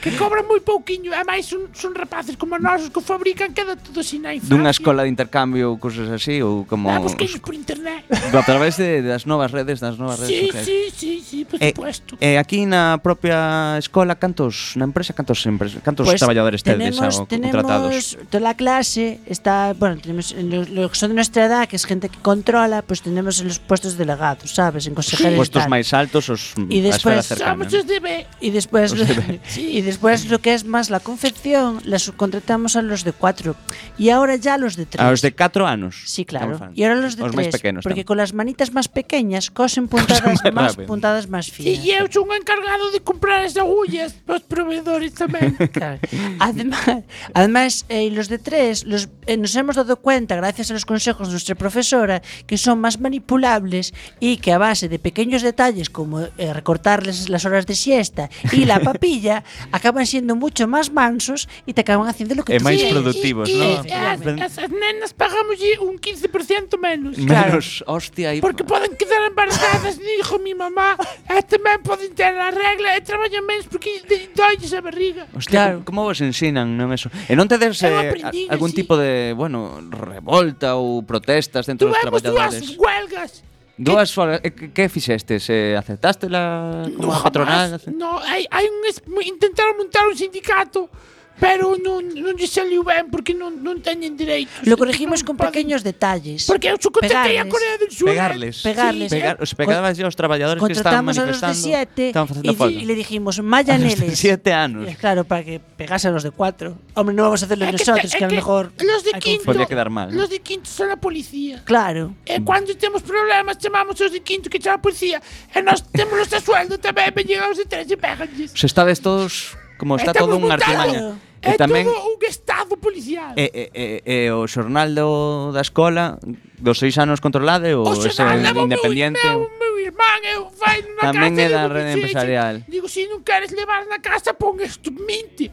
Speaker 5: Que cobran moi pouquiño, e máis son, son rapaces como nós os que fabrican queda todo sin aí.
Speaker 9: Dunha escola de intercambio ou cousas así ou como
Speaker 5: Ah, busqueños por internet.
Speaker 9: a través de, das novas redes, das novas redes
Speaker 5: sí,
Speaker 9: sociais.
Speaker 5: sí, sí, sí, por
Speaker 9: Eh,
Speaker 5: supuesto.
Speaker 9: eh, aquí na propia escola cantos na empresa cantos empres- cantos
Speaker 10: Pues
Speaker 9: traballadores tedes
Speaker 10: Pois, tenemos,
Speaker 9: ao- contratados.
Speaker 10: tenemos toda la clase, está, bueno, tenemos en los, los que son de nuestra edad, que es gente que controla, pues tenemos en los puestos delegados, ¿sabes? En consejeros. y
Speaker 9: Puestos
Speaker 10: tal.
Speaker 9: máis altos os
Speaker 10: Y ah,
Speaker 9: a esfera
Speaker 10: despois-
Speaker 9: cercana.
Speaker 5: Somos os de B.
Speaker 10: Y después,
Speaker 9: O
Speaker 10: lo-
Speaker 9: sea,
Speaker 10: y después lo que es más la confección, la subcontratamos a los de cuatro. Y ahora ya a los de tres.
Speaker 9: A Ah, os de 4 anos.
Speaker 10: Sí, claro.
Speaker 9: estamos falando.
Speaker 10: Y ahora los de
Speaker 9: os máis
Speaker 10: tres.
Speaker 9: pequenos.
Speaker 10: porque
Speaker 9: tamén.
Speaker 10: con las manitas más pequeñas cosen puntadas
Speaker 9: máis
Speaker 10: más,
Speaker 9: rápido.
Speaker 10: puntadas más
Speaker 5: Sí,
Speaker 10: finas.
Speaker 5: e eu son o encargado de comprar as agullas os proveedores tamén.
Speaker 10: Claro. Además, además eh, los de tres los, eh, nos hemos dado cuenta, gracias a los consejos de nuestra profesora, que son más manipulables y que a base de pequeños detalles como eh, recortarles las horas de siesta y la papilla, acaban siendo mucho más mansos y te acaban haciendo lo que
Speaker 9: É
Speaker 10: tú
Speaker 9: máis
Speaker 10: quieres.
Speaker 9: productivos,
Speaker 5: e,
Speaker 9: non?
Speaker 5: E as, as, as nenas pagamos un 15% menos.
Speaker 9: Menos, hostia, aí.
Speaker 5: Porque poden quedar embarazadas, dijo mi mamá. E tamén poden ter a regla e traballan menos porque de- dolles a barriga.
Speaker 9: Hostia, claro. como vos ensinan, non eso? E non tedes
Speaker 5: Eu
Speaker 9: eh,
Speaker 5: aprendín
Speaker 9: a- algún
Speaker 5: así.
Speaker 9: tipo de, bueno, revolta ou protestas dentro dos
Speaker 5: Tuvemos dúas
Speaker 9: traballadores?
Speaker 5: huelgas.
Speaker 9: Dúas horas, eh, que, que fixestes? Eh, aceptaste la como a patronal?
Speaker 5: jamás. No, hai, hai un es- intentaron montar un sindicato, pero non, non lle saliu ben porque non, non teñen dereitos.
Speaker 10: Lo corregimos con
Speaker 5: Poden-
Speaker 10: pequeños detalles.
Speaker 5: Porque eu só contratei a
Speaker 10: Pegarles.
Speaker 5: Corea del Sur. ¿eh?
Speaker 9: Pegarles.
Speaker 10: Pegarles.
Speaker 9: Pegar, os pegabas ya aos traballadores que estaban
Speaker 10: Contratamos a los
Speaker 9: manifestando.
Speaker 10: de siete
Speaker 9: estaban
Speaker 10: y,
Speaker 9: facendo
Speaker 10: di-
Speaker 9: folga.
Speaker 10: y le
Speaker 9: A
Speaker 10: dijimos,
Speaker 9: los de
Speaker 10: mayaneles.
Speaker 9: siete anos.
Speaker 10: Claro, para que pegase a los de cuatro. Hombre, no vamos a hacerlo
Speaker 5: É que-
Speaker 10: nosotros,
Speaker 5: é
Speaker 10: que, a lo
Speaker 5: que
Speaker 10: mejor.
Speaker 5: Los de
Speaker 10: hay
Speaker 5: quinto.
Speaker 9: Podía quedar mal, ¿no?
Speaker 5: Los de quinto son la policía.
Speaker 10: Claro.
Speaker 5: E cando temos problemas chamamos os de quinto que son a policía e nós temos os de sueldo tamén e llegan os de tres e peganlles.
Speaker 9: Se estades todos como está
Speaker 5: Estamos
Speaker 9: todo un
Speaker 5: montados.
Speaker 9: artimaña.
Speaker 5: É
Speaker 9: E
Speaker 5: Eh,
Speaker 9: tamén
Speaker 5: todo un estado policial.
Speaker 9: e, e, e, e eh, o xornal do, da escola dos seis anos controlade ou ese independiente.
Speaker 5: Meu, meu irmán, eu vai na
Speaker 9: Tamén
Speaker 5: casa e
Speaker 9: é da
Speaker 5: digo,
Speaker 9: rede
Speaker 5: "Pichichi".
Speaker 9: empresarial.
Speaker 5: Digo, se non queres levar na casa, pon isto mente.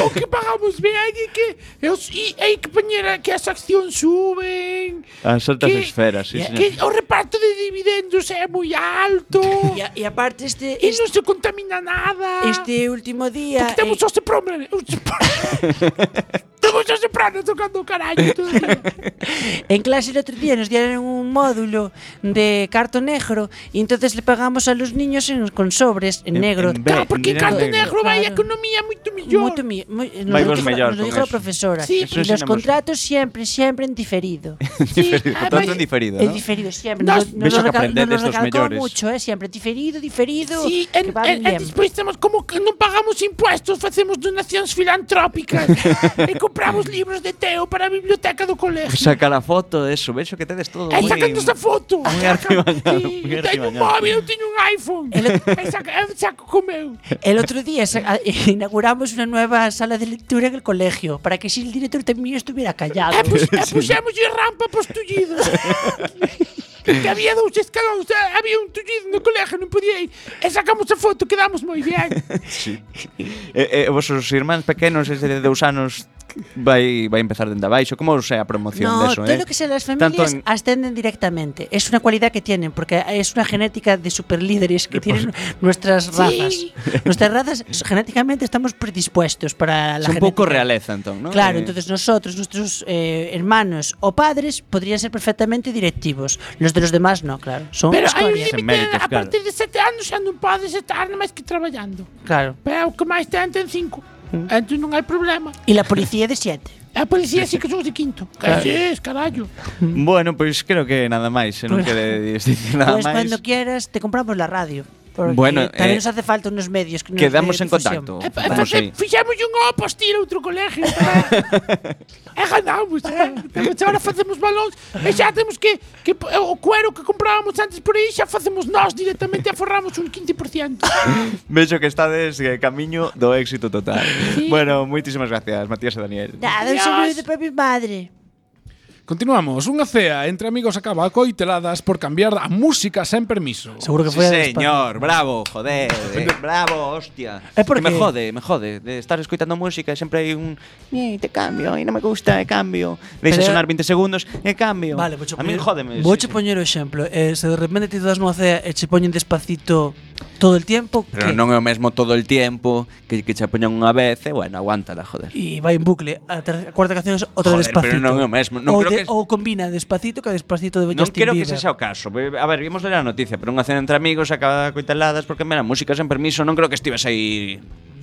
Speaker 5: o que pagamos ben e que eu, e, e que poñera que as accións suben.
Speaker 9: As altas
Speaker 5: que-
Speaker 9: esferas, sí,
Speaker 5: que
Speaker 9: señor.
Speaker 5: o reparto de dividendos é moi alto.
Speaker 10: Y, a- y aparte, este,
Speaker 5: e non se contamina nada.
Speaker 10: este último día.
Speaker 5: Porque temos
Speaker 10: eh,
Speaker 5: os sopranos. os sopranos. Temos os sopranos tocando o carallo todo o día.
Speaker 10: eh, en clase el otro día nos dieron un módulo de carto negro y entonces le pagamos a los niños en- con sobres en,
Speaker 9: En-
Speaker 10: negro.
Speaker 9: en
Speaker 5: Claro,
Speaker 9: Ve,
Speaker 5: porque
Speaker 9: dinero
Speaker 5: Carto
Speaker 9: negro.
Speaker 5: Negro vai a
Speaker 10: Claro.
Speaker 5: economía moito mellor.
Speaker 10: Moito mi- moi- nos
Speaker 9: Vai
Speaker 10: lo
Speaker 9: vos
Speaker 10: dijo-
Speaker 9: mellor
Speaker 10: nos lo
Speaker 9: con
Speaker 10: dijo la
Speaker 9: eso.
Speaker 10: profesora.
Speaker 5: Sí,
Speaker 9: Eso
Speaker 10: y los
Speaker 9: ensinamos.
Speaker 10: contratos siempre, siempre en diferido.
Speaker 5: Sí, ah, mas-
Speaker 9: Contrato en diferido,
Speaker 10: En
Speaker 9: ¿no?
Speaker 10: diferido siempre.
Speaker 5: Nos-
Speaker 10: Nos, nos
Speaker 9: Ves
Speaker 10: lo
Speaker 9: o que
Speaker 10: recal-
Speaker 9: aprendés
Speaker 10: nos lo
Speaker 9: destos
Speaker 10: recalcó
Speaker 9: mellores.
Speaker 10: mucho, eh, siempre. Diferido, diferido.
Speaker 5: Sí,
Speaker 10: que
Speaker 5: en,
Speaker 10: va
Speaker 5: en, e
Speaker 10: bien.
Speaker 5: despois temos como que non pagamos impuestos, facemos donacións filantrópicas. e co compramos libros de Teo para a biblioteca do colexio.
Speaker 9: Sacar a foto, eso, vexo que tedes todo
Speaker 5: Aí
Speaker 9: moi-
Speaker 5: sacando esta foto.
Speaker 9: moi artimañado,
Speaker 5: Sí, eu
Speaker 9: moi
Speaker 5: teño un
Speaker 9: artimañado.
Speaker 5: móvil, eu teño un iPhone. Aí saca, eu saco co meu.
Speaker 10: El otro día sa- a- inauguramos una nueva sala de lectura en el colegio para que si el director también estuviera callado.
Speaker 5: E,
Speaker 10: Pues
Speaker 5: pus, e puxemos rampa pos tullidos. que había dous escalóns, eh, había un tullido no colegio, non podía ir. E sacamos a foto, quedamos moi bien.
Speaker 9: E, e vosos irmáns pequenos ese de dous anos vai vai empezar dende abaixo. Como sei a promoción
Speaker 10: No,
Speaker 9: deso,
Speaker 10: todo
Speaker 9: eh?
Speaker 10: lo que sea las
Speaker 9: Tanto
Speaker 10: familias
Speaker 9: en-
Speaker 10: ascenden directamente. Es una cualidad que tienen, porque es una genética de superlíderes que tienen nuestras razas. Nuestras razas genéticamente estamos predispuestos para la
Speaker 9: Son un pouco
Speaker 10: genética.
Speaker 9: realeza entón, non?
Speaker 10: Claro,
Speaker 9: Eh,
Speaker 10: entonces nosotros, nuestros eh, hermanos o padres podrían ser perfectamente directivos. Los de los demás no, claro. Son
Speaker 5: Pero hai un
Speaker 10: escoria.
Speaker 9: Sen
Speaker 5: límite,
Speaker 9: méritos,
Speaker 5: a
Speaker 9: claro.
Speaker 5: partir de sete anos xa non podes estar nada máis que traballando.
Speaker 10: Claro.
Speaker 5: Pero o que máis ten ten cinco. Entón non hai problema.
Speaker 10: Y la policía de siete.
Speaker 5: A policía sí que son de quinto. É Claro. Sí, carallo.
Speaker 9: Bueno, pois creo que nada máis, se non queredes dicir nada
Speaker 10: Pues
Speaker 9: máis.
Speaker 10: cuando quieras te compramos la radio. Porque
Speaker 9: Bueno,
Speaker 10: también
Speaker 9: eh,
Speaker 10: nos hace falta unos medios que nos
Speaker 9: Quedamos
Speaker 10: dé
Speaker 9: en
Speaker 10: difusión.
Speaker 9: contacto.
Speaker 5: E, e
Speaker 9: Vamos
Speaker 5: face-
Speaker 9: aí.
Speaker 5: fixemos un o postil a outro colegio. eh. e ganamos. Eh. Temos- Agora facemos balóns e xa temos que, que p- o cuero que comprábamos antes por aí xa facemos nós directamente e forramos un 15%.
Speaker 9: Vexo que estades eh, camiño do éxito total. Bueno, moitísimas gracias, Matías e Daniel.
Speaker 10: Nada, un saludo para mi madre.
Speaker 6: Continuamos. Unha cea entre amigos acaba a coiteladas por cambiar a música sen permiso.
Speaker 1: Seguro que
Speaker 9: Sí,
Speaker 1: fue a
Speaker 9: señor, bravo, joder, eh, bravo, hostia.
Speaker 1: É porque-
Speaker 9: Que me jode, me jode de estar escoitando música e sempre hai un "Eh, te cambio, e non me gusta, e cambio. Deixa
Speaker 1: Pero-
Speaker 9: sonar 20 segundos, e cambio.
Speaker 1: Vale, pues vouche
Speaker 9: a mí
Speaker 1: poñer-
Speaker 9: jódeme.
Speaker 1: Vouche poñer o exemplo, eh, se de repente ti das nunha cea e che poñen despacito todo el tiempo, que-
Speaker 9: Pero non é o mesmo todo el tiempo que, que che poñan unha vez, e bueno, aguántala, joder.
Speaker 1: e vai en bucle, a, ter- a cuarta canción é outra
Speaker 9: Joder,
Speaker 1: despacito.
Speaker 9: pero non é o mesmo, non
Speaker 1: ou,
Speaker 9: creo que es-
Speaker 1: ou combina despacito que despacito de
Speaker 9: Non
Speaker 1: Justin
Speaker 9: quero que
Speaker 1: Bieber.
Speaker 9: sexa o caso. Be- A ver, vimos ler a noticia, pero unha cena entre amigos acaba coiteladas porque mera música sen permiso, non creo que estives aí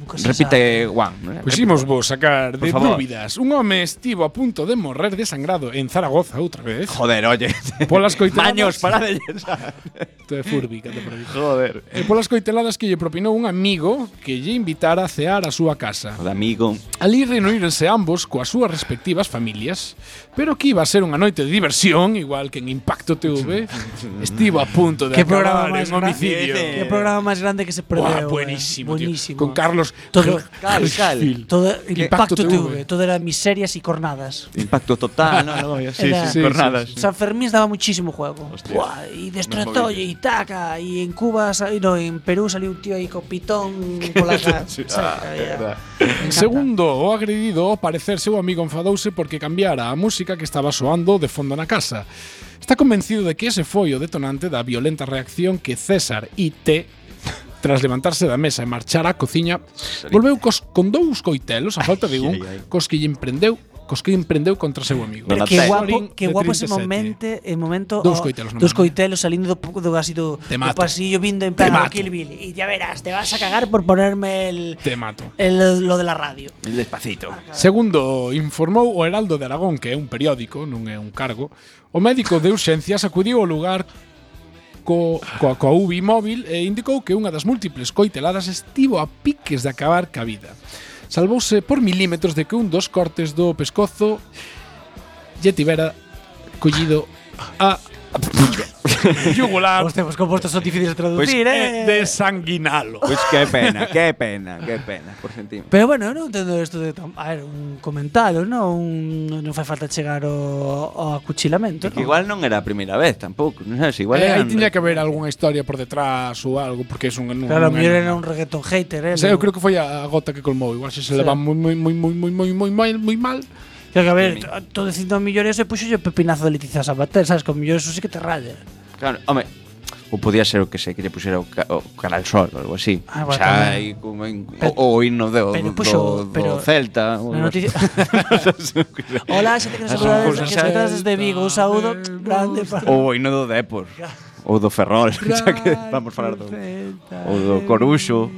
Speaker 1: Nunca se
Speaker 9: Repite, Juan. ¿eh? ¿no?
Speaker 6: Puximos Pues vos sacar
Speaker 9: Por
Speaker 6: de
Speaker 9: favor.
Speaker 6: dúbidas. Un home estivo a punto de morrer desangrado en Zaragoza outra vez.
Speaker 9: Joder, oye.
Speaker 6: Polas coiteladas.
Speaker 9: Maños, para de
Speaker 6: Esto é Furby, canta por aí.
Speaker 9: Joder.
Speaker 6: E polas coiteladas que lle propinou un amigo que lle invitara a cear a súa casa.
Speaker 9: Joder, amigo.
Speaker 6: Ali reuníronse ambos coas súas respectivas familias, pero que iba a ser unha noite de diversión, igual que en Impacto TV, estivo a punto de
Speaker 1: Que
Speaker 6: acabar
Speaker 1: programa
Speaker 6: en
Speaker 1: máis
Speaker 6: homicidio.
Speaker 1: Que programa máis grande que se
Speaker 6: Buah,
Speaker 1: perdeu. eh.
Speaker 6: buenísimo, tío.
Speaker 1: buenísimo.
Speaker 6: Con Carlos
Speaker 1: Todo-
Speaker 9: Cal, cal.
Speaker 6: Gil.
Speaker 1: Todo impacto,
Speaker 6: Impacto
Speaker 1: tuve,
Speaker 6: TV.
Speaker 1: todo era miserias y cornadas.
Speaker 9: Impacto total, ¿no? Luego, sí,
Speaker 1: Era-
Speaker 9: sí,
Speaker 6: Sí,
Speaker 9: cornadas.
Speaker 1: San Fermín daba muchísimo juego. Buah, y destrozó y taca. Y en Cuba, sa- no, en Perú salió un tío ahí con pitón por la cara.
Speaker 6: Segundo, o agredido, ao parecer seu amigo enfadouse porque cambiara a música que estaba soando de fondo na casa. Está convencido de que ese foi o detonante da violenta reacción que César IT tras levantarse da mesa e marchar á cociña, volveu cos, con dous coitelos, a falta de un, cos que lle emprendeu cos que emprendeu contra seu amigo.
Speaker 9: Pero
Speaker 1: Qué
Speaker 9: Sí.
Speaker 1: guapo, qué
Speaker 6: De
Speaker 1: guapo ese
Speaker 6: 37.
Speaker 1: momento, el momento
Speaker 6: Dos
Speaker 1: oh,
Speaker 6: coitelos no
Speaker 1: dos
Speaker 6: me-
Speaker 1: coitelos saliendo do, pu- do así do, do
Speaker 6: Te mato.
Speaker 1: pasillo vindo en plan
Speaker 6: Te
Speaker 1: a lo
Speaker 6: mato.
Speaker 1: Kill Bill y ya verás, te vas a cagar por ponerme el,
Speaker 6: Te mato.
Speaker 1: el- lo de la radio.
Speaker 9: Despacito.
Speaker 6: Segundo, informou o Heraldo de Aragón, que é un periódico, non é un cargo, o médico de urxencias acudiu ao lugar co, coa, coa UBI móvil e indicou que unha das múltiples coiteladas estivo a piques de acabar ca vida. Salvouse por milímetros de que un dos cortes do pescozo lle tivera collido a yugular
Speaker 1: Hostia, pues como estos son difíciles de
Speaker 9: Pues,
Speaker 1: traducir, eh.
Speaker 6: e desanguinalo.
Speaker 9: Pues qué pena, qué pena, qué pena, por centímetro.
Speaker 1: Pero bueno, eu non entendo isto de tam- a ver, un comentario, non un non fai falta chegar ao, ao acuchilamento,
Speaker 9: Que
Speaker 1: non?
Speaker 9: igual non era a primeira vez tampouco, non sabes, igual
Speaker 6: Eh, aí
Speaker 9: eran-
Speaker 6: tiña que haber algunha historia por detrás ou algo, porque es un... non-
Speaker 1: Claro, a
Speaker 6: non
Speaker 1: mellor
Speaker 6: é-
Speaker 1: era un reggaeton hater, eh.
Speaker 6: O sea, eu creo que foi a a gota que colmou, igual se se leva moi moi moi moi moi moi moi mal, moi mal.
Speaker 1: Creo que a ver, todo dicindo a mellor eso e puxo o pepinazo de Letizia Sabater, sabes, con mellor eso sí que te raya.
Speaker 9: Claro, home, ou podía ser o que sei, que lle puxera o, ca, o cara al sol ou algo así.
Speaker 1: Ah,
Speaker 9: o
Speaker 1: bueno,
Speaker 9: sea,
Speaker 1: tamén.
Speaker 9: aí como en,
Speaker 1: Pero-
Speaker 9: o, o himno do,
Speaker 1: pero
Speaker 9: do,
Speaker 1: puxo-
Speaker 9: do
Speaker 1: pero-
Speaker 9: Celta. ou
Speaker 1: Na
Speaker 9: algo
Speaker 1: noticia.
Speaker 9: así.
Speaker 1: Hola, xente que nos
Speaker 6: As
Speaker 1: saudades, que
Speaker 6: cousas
Speaker 1: nos saudades
Speaker 6: celta
Speaker 1: desde Vigo, un saúdo
Speaker 6: me
Speaker 1: grande
Speaker 6: gustan.
Speaker 1: para
Speaker 9: ou o himno do Depor. ou do Ferrol, xa que vamos falar do... ou do Coruxo.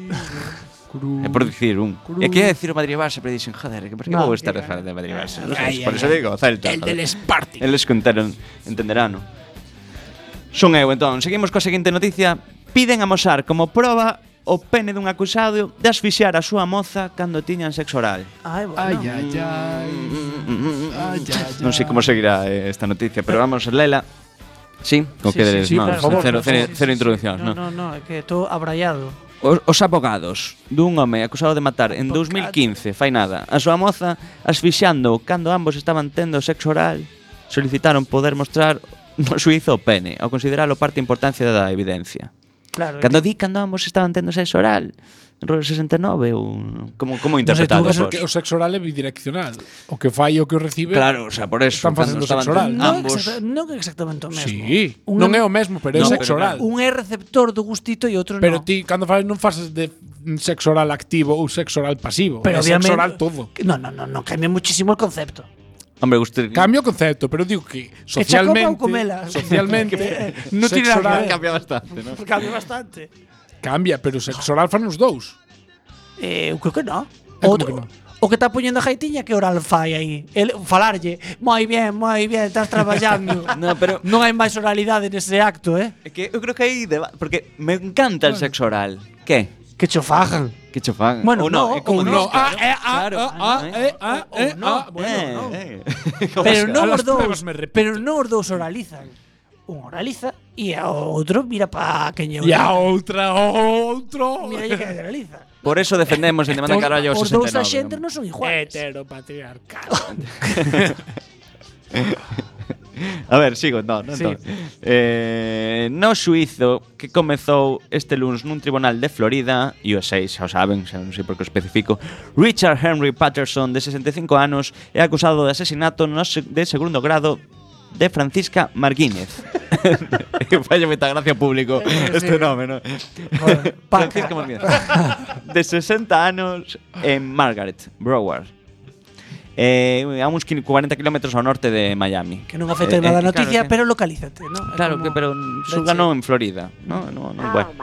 Speaker 9: É por dicir un. E aquí é dicir o Madrid Barça, pero dicen, joder, que por que
Speaker 1: No,
Speaker 9: vou estar a falar de Madrid Barça? Non sabes, por iso digo, Celta. El del Sparting. Eles contaron, entenderán. Son eu, entón. Seguimos coa seguinte noticia. Piden amosar como proba o pene dun acusado de asfixiar a súa moza cando tiñan sexo oral.
Speaker 10: Ai, bueno.
Speaker 6: Ai, ai, ai. Ai, ai,
Speaker 9: Non sei como seguirá eh, esta noticia, pero vamos, Lela. Sí, o
Speaker 1: Sí,
Speaker 9: que
Speaker 1: sí,
Speaker 9: deles,
Speaker 1: sí,
Speaker 9: no,
Speaker 1: por favor,
Speaker 9: cero,
Speaker 1: sí,
Speaker 9: cero,
Speaker 1: sí,
Speaker 9: cero
Speaker 1: sí,
Speaker 9: introducción,
Speaker 1: No, no, no, é que estou abraiado.
Speaker 9: Os, os abogados dun home acusado de matar en 2015, fai nada, a súa moza asfixiando cando ambos estaban tendo sexo oral, solicitaron poder mostrar no suizo o pene, ao considerarlo parte importancia da evidencia.
Speaker 1: Claro.
Speaker 9: Cando di cando ambos estaban tendo sexo oral, en rollo 69 ou como como
Speaker 1: sei, tú,
Speaker 9: interpretado pois.
Speaker 1: vas Eso,
Speaker 6: Mas o,
Speaker 9: vos?
Speaker 6: que, o sexo oral é bidireccional. O que fai e o que o recibe.
Speaker 9: Claro, o sea, por eso
Speaker 6: Están
Speaker 9: cando
Speaker 6: facendo
Speaker 9: estaban
Speaker 6: sexo oral.
Speaker 9: tendo
Speaker 1: Non,
Speaker 9: ambos.
Speaker 1: exacta- non é exactamente o mesmo.
Speaker 6: Sí.
Speaker 1: Un
Speaker 6: non
Speaker 1: é-
Speaker 6: é o mesmo, pero é
Speaker 9: No,
Speaker 6: sexo
Speaker 9: pero
Speaker 6: oral.
Speaker 1: Un é receptor do gustito e outro
Speaker 6: Pero
Speaker 1: non.
Speaker 6: ti, cando fales, non fases de sexo oral activo ou sexo oral pasivo.
Speaker 1: Pero
Speaker 6: é sexo oral todo.
Speaker 1: No, no, no, no, cambia muchísimo el concepto.
Speaker 9: Hombre, guste
Speaker 6: Cambio o concepto, pero digo que
Speaker 1: chacoma
Speaker 6: socialmente...
Speaker 1: ou comela.
Speaker 6: Socialmente...
Speaker 1: No
Speaker 6: sexo
Speaker 1: tiene nada que
Speaker 6: oral
Speaker 1: ver.
Speaker 9: cambia bastante, ¿no?
Speaker 1: Cambia bastante.
Speaker 6: Cambia, pero sexo oral fan os dous.
Speaker 1: Eh, eu creo que no.
Speaker 6: É como
Speaker 1: Outro-
Speaker 6: que no.
Speaker 1: O que está poñendo a Jaitiña que oral fai aí. El falarlle, moi bien, moi bien, estás traballando.
Speaker 9: No, pero
Speaker 1: non hai máis oralidade nese acto, eh?
Speaker 9: é que eu creo que aí deba- porque me encanta el sexo oral. ¿Qué?
Speaker 1: Que cho fajan.
Speaker 9: Que chofán.
Speaker 1: Bueno,
Speaker 9: Ou
Speaker 1: no,
Speaker 9: é
Speaker 1: ou
Speaker 9: como dices,
Speaker 1: no.
Speaker 6: No, ah,
Speaker 9: claro.
Speaker 6: eh, ah,
Speaker 9: Claro.
Speaker 6: ah, ah,
Speaker 9: Ah,
Speaker 6: eh, ah, eh, ah.
Speaker 9: Eh,
Speaker 6: Bueno, no.
Speaker 9: eh.
Speaker 1: Pero
Speaker 6: que
Speaker 1: non
Speaker 6: a
Speaker 1: os
Speaker 6: las
Speaker 1: dous,
Speaker 6: pruebas me repito.
Speaker 1: pero non os dous oralizan. Un oraliza e o outro mira pa quen lle
Speaker 6: E a
Speaker 1: oraliza.
Speaker 6: outra, outro.
Speaker 1: Mira lle que oraliza.
Speaker 9: Por eso defendemos de demanda carallo
Speaker 1: Os dous axentes
Speaker 9: 69.
Speaker 1: non son iguais.
Speaker 6: Heteropatriarcal.
Speaker 9: A ver, sigo, no, no,
Speaker 1: Sí.
Speaker 9: entón. Eh, no suizo que comezou este luns nun tribunal de Florida, USA, xa o saben, xa non sei por que o especifico, Richard Henry Patterson, de 65 anos, é acusado de asesinato no se- de segundo grado de Francisca Marguínez. que falla moita gracia ao público este nome, non? Francisca Marguínez. De 60 anos en Margaret, Broward. Eh, a uns 40 kilómetros ao norte de Miami.
Speaker 1: Que non afecta
Speaker 9: Eh,
Speaker 1: nada a
Speaker 9: eh,
Speaker 1: noticia,
Speaker 9: claro que-
Speaker 1: pero localízate, ¿no? É
Speaker 9: Claro,
Speaker 1: como-
Speaker 9: que, pero Sur
Speaker 1: Leche.
Speaker 9: ganó en Florida. No, no, no. bueno.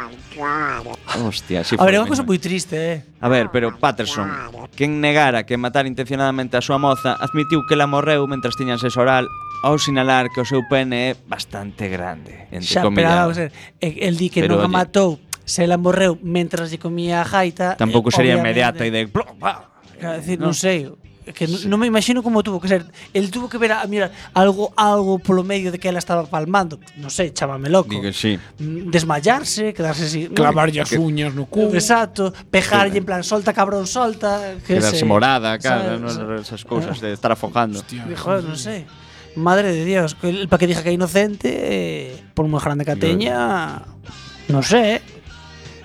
Speaker 9: Hostia, sí.
Speaker 1: A ver, é
Speaker 9: fue
Speaker 1: unha cousa
Speaker 9: mismo.
Speaker 1: moi triste, eh.
Speaker 9: A ver, pero Patterson, quen negara que matar intencionadamente a súa moza, admitiu que la morreu mentras tiñan sexo oral ao sinalar que o seu pene é bastante grande, entre
Speaker 1: Xa, pero
Speaker 9: comillas.
Speaker 1: vamos a ver, e- el di que
Speaker 9: Pero,
Speaker 1: non a
Speaker 9: oye.
Speaker 1: matou, se la morreu mentras lle comía a jaita.
Speaker 9: Tampouco
Speaker 1: eh,
Speaker 9: sería
Speaker 1: obviamente.
Speaker 9: inmediata e de... "Plo, pa".
Speaker 1: Claro, decir, non
Speaker 9: No.
Speaker 1: sei, é que non- non me imagino como tuvo que ser. El tuvo que ver a mirar algo algo polo medio de que ela estaba palmando. Non sei, chámame loco.
Speaker 9: Digo, sí.
Speaker 1: Mm, Desmayarse, quedarse así.
Speaker 6: Clavarlle as uñas no cu.
Speaker 1: Exacto, pejarlle en plan solta cabrón, solta, que
Speaker 9: Quedarse
Speaker 1: sei.
Speaker 9: morada,
Speaker 1: Sabes,
Speaker 9: claro, no,
Speaker 1: sabes.
Speaker 9: esas cousas de estar afogando.
Speaker 6: Hostia.
Speaker 1: Dijo, "Joder, no sé. Madre de Dios, que el pa' que dije que inocente, eh, por muy grande que teña, no sé. eh.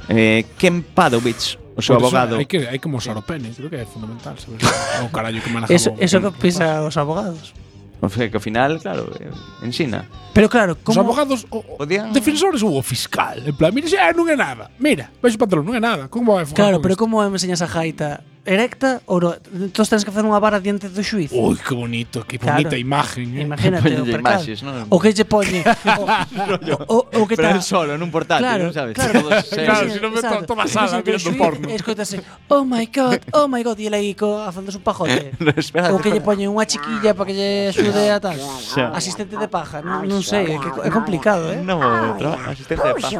Speaker 9: Eh, Ken Padovich, o seu
Speaker 6: Por eso
Speaker 9: abogado.
Speaker 6: Hai que, hai que mostrar o pene, creo que é fundamental. Oh, Saber o carallo que maneja
Speaker 1: Eso,
Speaker 6: o-
Speaker 1: eso que pisa os abogados.
Speaker 9: O sea, que ao final, claro, eh, ensina.
Speaker 1: Pero claro,
Speaker 6: Os
Speaker 1: como
Speaker 6: abogados, o, o
Speaker 9: Podían-
Speaker 6: defensores ou o fiscal. En plan, mira, xa, non é nada. Mira, veis o patrón, non é nada. Como vai fogar
Speaker 1: Claro,
Speaker 6: con
Speaker 1: pero
Speaker 6: isto?
Speaker 1: como me enseñas a jaita erecta ou no? Entón tens que facer unha vara diante do xuiz.
Speaker 6: Ui, que bonito, que
Speaker 1: Claro.
Speaker 6: bonita imagen. Eh?
Speaker 1: Imagínate o
Speaker 9: Ponlle
Speaker 1: percal.
Speaker 9: imaxes, non?
Speaker 1: O que lle poñe. o, o, o que ta-
Speaker 9: Pero él solo, en un portátil,
Speaker 1: Claro,
Speaker 9: ¿no sabes?
Speaker 1: claro.
Speaker 9: Todos serios.
Speaker 6: Claro, si no me
Speaker 1: exacto.
Speaker 6: to- toda a sala
Speaker 1: Pois entón,
Speaker 6: viendo
Speaker 1: xuíz
Speaker 6: porno.
Speaker 1: Escoitase, oh my god, oh my god, e ele aí co- afándose un pajote.
Speaker 9: Eh, No, espera,
Speaker 1: Ou que lle
Speaker 9: espera.
Speaker 1: poñen unha chiquilla para que lle axude a tal.
Speaker 9: Xa.
Speaker 1: Asistente de paja, non, non sei, é, que é complicado, eh?
Speaker 9: No, tra- asistente de paz.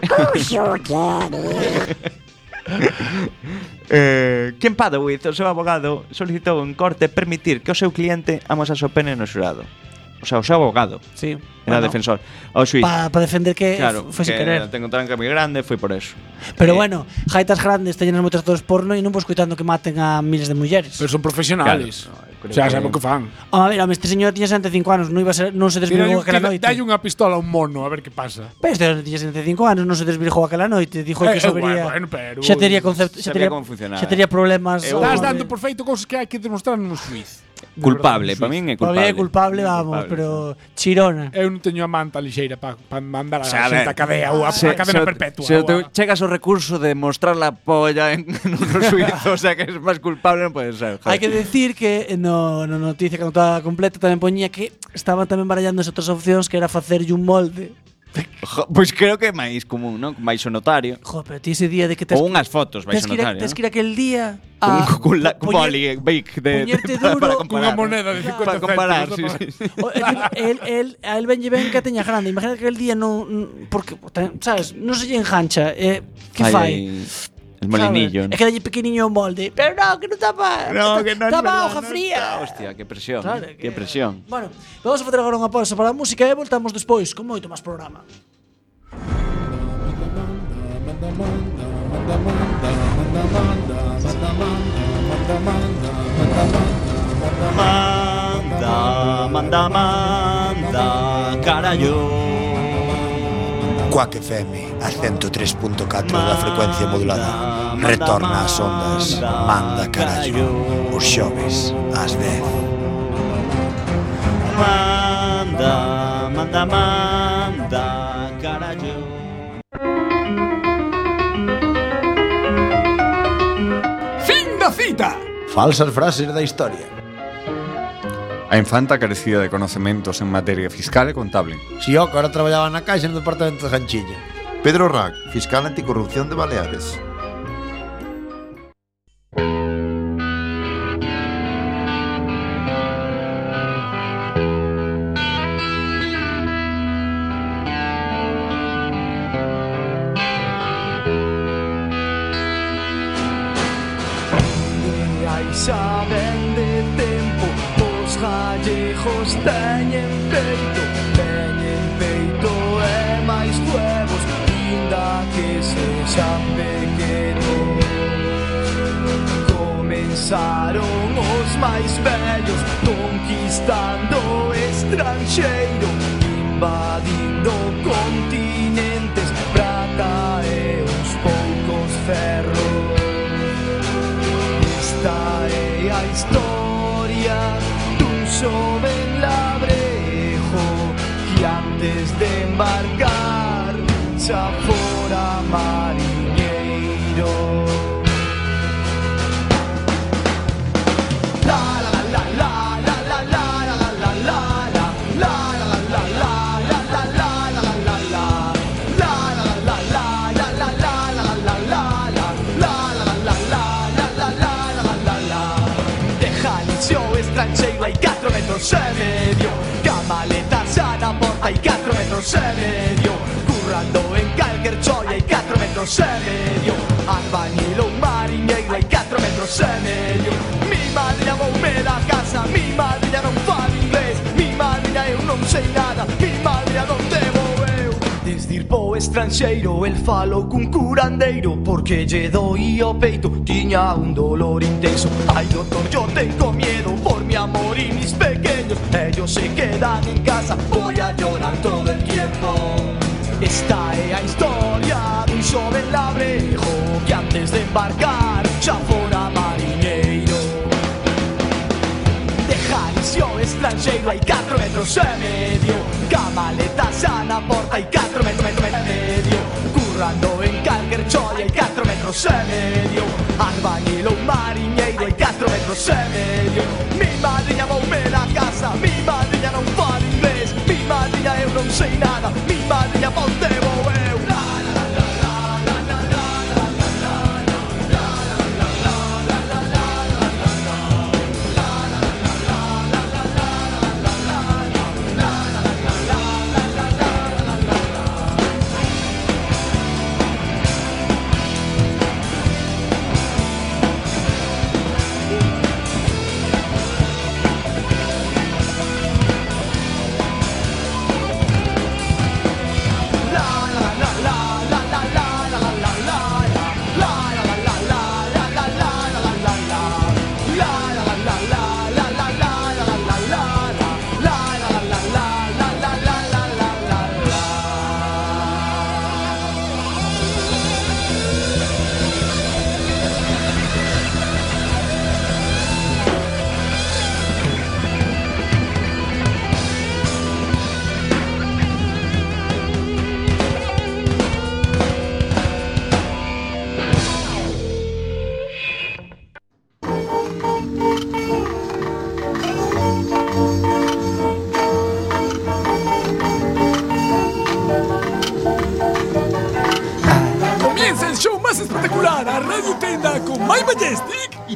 Speaker 9: Eh, Ken Padowitz, o seu abogado, solicitou en corte permitir que o seu cliente amosase o pene no xurado. O sea, o seu abogado,
Speaker 1: Sí.
Speaker 9: era defensor. O xuiz,
Speaker 1: Para pa defender que
Speaker 9: claro,
Speaker 1: foi sin
Speaker 9: que
Speaker 1: querer.
Speaker 9: tengo un tranca moi grande, foi por eso.
Speaker 1: Pero
Speaker 9: Eh,
Speaker 1: bueno, jaitas grandes teñen moitos todos porno e non vos coitando que maten a miles de mulleres.
Speaker 6: Pero son profesionales.
Speaker 9: Claro, no, creo
Speaker 6: o sea,
Speaker 9: que-
Speaker 6: saben o que fan.
Speaker 1: a ver, home, este señor tiña 75 anos, non iba a ser, non se
Speaker 6: Tírale
Speaker 1: desvirgou
Speaker 6: un-
Speaker 1: aquela noite.
Speaker 6: Dalle unha pistola a un mono, a ver que pasa.
Speaker 1: Pero este señor tiña 75 anos, non se desvirgou aquela noite, dixo
Speaker 6: Eh,
Speaker 1: que
Speaker 6: eh,
Speaker 1: sabería.
Speaker 6: bueno, pero-
Speaker 1: xa tería concepto, xa tería
Speaker 9: Sabía como funcionaba.
Speaker 1: Xa tería problemas.
Speaker 9: Eh,
Speaker 1: hombre.
Speaker 6: Estás dando por feito cousas que hai que demostrar nun suiz.
Speaker 9: culpable, para min é
Speaker 1: Todavía é
Speaker 9: culpable.
Speaker 1: culpable, vamos,
Speaker 9: Culpable. Eh,
Speaker 1: pero chirona.
Speaker 6: Eu non teño a manta lixeira para pa mandar a
Speaker 9: Xa, a
Speaker 6: xente a
Speaker 9: ver.
Speaker 6: cadea ou a, a cadena perpetua.
Speaker 9: Se
Speaker 6: ou
Speaker 9: te,
Speaker 6: a-
Speaker 9: chegas ao recurso de mostrar la polla en, en outro suizo, o sea que es máis culpable non pode ser.
Speaker 1: Hai que decir que eh, no, no noticia que non estaba completa tamén poñía que estaban tamén barallándose outras opcións que era facerlle un molde
Speaker 9: Jo, Pois creo que é máis común, non? Mais o notario.
Speaker 1: Jo, pero ti ese día de que tes
Speaker 9: Ou unhas fotos, vais
Speaker 1: Tens que,
Speaker 9: o
Speaker 1: ir, a-
Speaker 9: notario.
Speaker 1: tes
Speaker 9: non?
Speaker 1: que ir aquel día a
Speaker 9: Con- Con la-
Speaker 1: poñer-
Speaker 9: con boli, eh, bake de,
Speaker 1: poñerte
Speaker 9: de- para-
Speaker 1: duro
Speaker 9: para
Speaker 1: cunha
Speaker 9: comparar, non?
Speaker 6: moneda de 50
Speaker 9: Para comparar, sí,
Speaker 6: céntimos,
Speaker 9: sí.
Speaker 1: O- e tipo, el, el, a el venlle ben que a teña grande. Imagina que el día non... n- Porque, ten- sabes, non se lle engancha. Eh, que
Speaker 9: Ai,
Speaker 1: fai?
Speaker 9: ai, El molinillo.
Speaker 1: Sabes? É que dalle pequeniño o molde. Pero non, que non tapa.
Speaker 9: No, que non é
Speaker 1: tapa
Speaker 9: verdad,
Speaker 1: hoja
Speaker 9: non
Speaker 1: fría.
Speaker 9: está. Hostia, que presión.
Speaker 1: Claro,
Speaker 9: eh,
Speaker 1: que-
Speaker 9: que presión.
Speaker 1: Bueno, vamos a facer agora unha pausa para a música e voltamos despois con moito máis programa.
Speaker 9: Manda, manda, manda, carallo.
Speaker 4: Quack FM, a 103.4 da frecuencia modulada. Retorna ás ondas, manda carallo, os xoves, ás 10.
Speaker 9: Manda, manda, manda, carallo.
Speaker 4: Falsas frases da historia.
Speaker 5: A infanta carecía de conocementos en materia fiscal e contable.
Speaker 4: Si yo que ahora traballaba na caixa no departamento de Janchilla.
Speaker 2: Pedro Rack, fiscal anticorrupción de Baleares.
Speaker 10: Doña Isabel de tempo Os gallegos teñen peito Teñen peito e máis huevos Inda que sexan pequenos Comenzaron os máis vellos Conquistando o estranxeiro Invadindo continentes Prata e uns poucos ferros Esta é a historia dun xoven labrejo que antes de embarcar xa fora mariñeiro. La la la la la la la la la la la la la la la la la la la la la la la. La la la la la la la la la la la. La la la la la la la la la la. De Jalisco estranxeiro hai 4 metros e medio Ca maleta xa na porta hai 4 metros e medio Currando en calquer choia hai 4 metros e medio Albañil ou mariñeiro hai 4 metros e medio Mi madre llamou me da casa Mi madre ya non fala inglés Mi madre ya eu non sei nada Mi madre a donde vou eu Desde ir po estranxeiro el falo cun curandeiro Porque lle doía o peito Tiña un dolor intenso Ai doctor, yo tengo miedo Por mi amor y mis pequeños Ellos se quedan en casa Voy a llorar todo el tiempo Esta é a historia dun xoven labrejo Que antes de embarcar xa fora mariñeiro De Jalisco estranxeiro hai 4 metros e medio Camaleta xa na porta hai 4 metros metro, metro e medio Currando en calquer choia hai 4 metros e medio Albañil ou mariñeiro hai 4 metros e medio Mi madre llamoume da casa Mi madre ya non fala inglés Mi madre ya eu non sei nada Mi madre ya ponte vou eu La, la, la, la, la, la, la, la, la, la, la, la.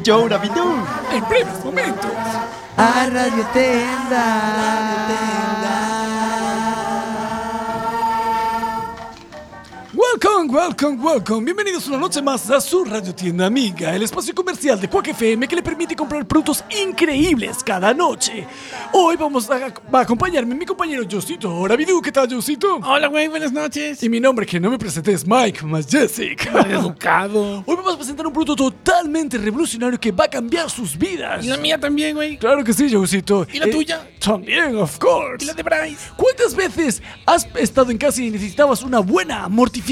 Speaker 9: Llora, bidón.
Speaker 1: En breves momentos.
Speaker 11: A Radio Tenda.
Speaker 1: Welcome, welcome, welcome. Bienvenidos una noche más a su Radio Tienda Amiga, el espacio comercial de Quack FM que le permite comprar productos increíbles cada noche. Hoy vamos a, va a acompañarme mi compañero Josito. Hola, Bidú, ¿qué tal, Josito?
Speaker 5: Hola, güey, buenas noches.
Speaker 1: Y mi nombre, que no me presenté, es Mike Majesic.
Speaker 5: Educado.
Speaker 1: Hoy vamos a presentar un producto totalmente revolucionario que va a cambiar sus vidas.
Speaker 5: Y la mía también, güey.
Speaker 1: Claro que sí, Josito.
Speaker 5: ¿Y la tuya?
Speaker 1: También, of course.
Speaker 5: Y la de Bryce.
Speaker 1: ¿Cuántas veces has estado en casa y necesitabas una buena mortificación?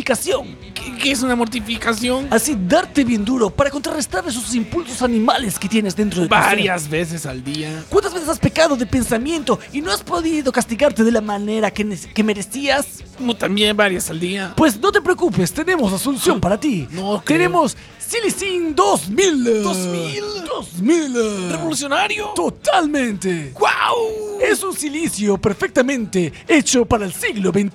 Speaker 5: ¿Qué, qué es una mortificación?
Speaker 1: Así darte bien duro para contrarrestar esos impulsos animales que tienes dentro de ti.
Speaker 5: Varias veces al día.
Speaker 1: ¿Cuántas veces has pecado de pensamiento y no has podido castigarte de la manera que, nes- que merecías?
Speaker 5: Como también varias al día.
Speaker 1: Pues no te preocupes, tenemos la solución para ti.
Speaker 5: No creo.
Speaker 1: tenemos Silly Sin 2000.
Speaker 5: 2000.
Speaker 1: 2000.
Speaker 5: Revolucionario.
Speaker 1: Totalmente.
Speaker 5: ¡Wow!
Speaker 1: Es un silicio perfectamente hecho para el siglo XXI.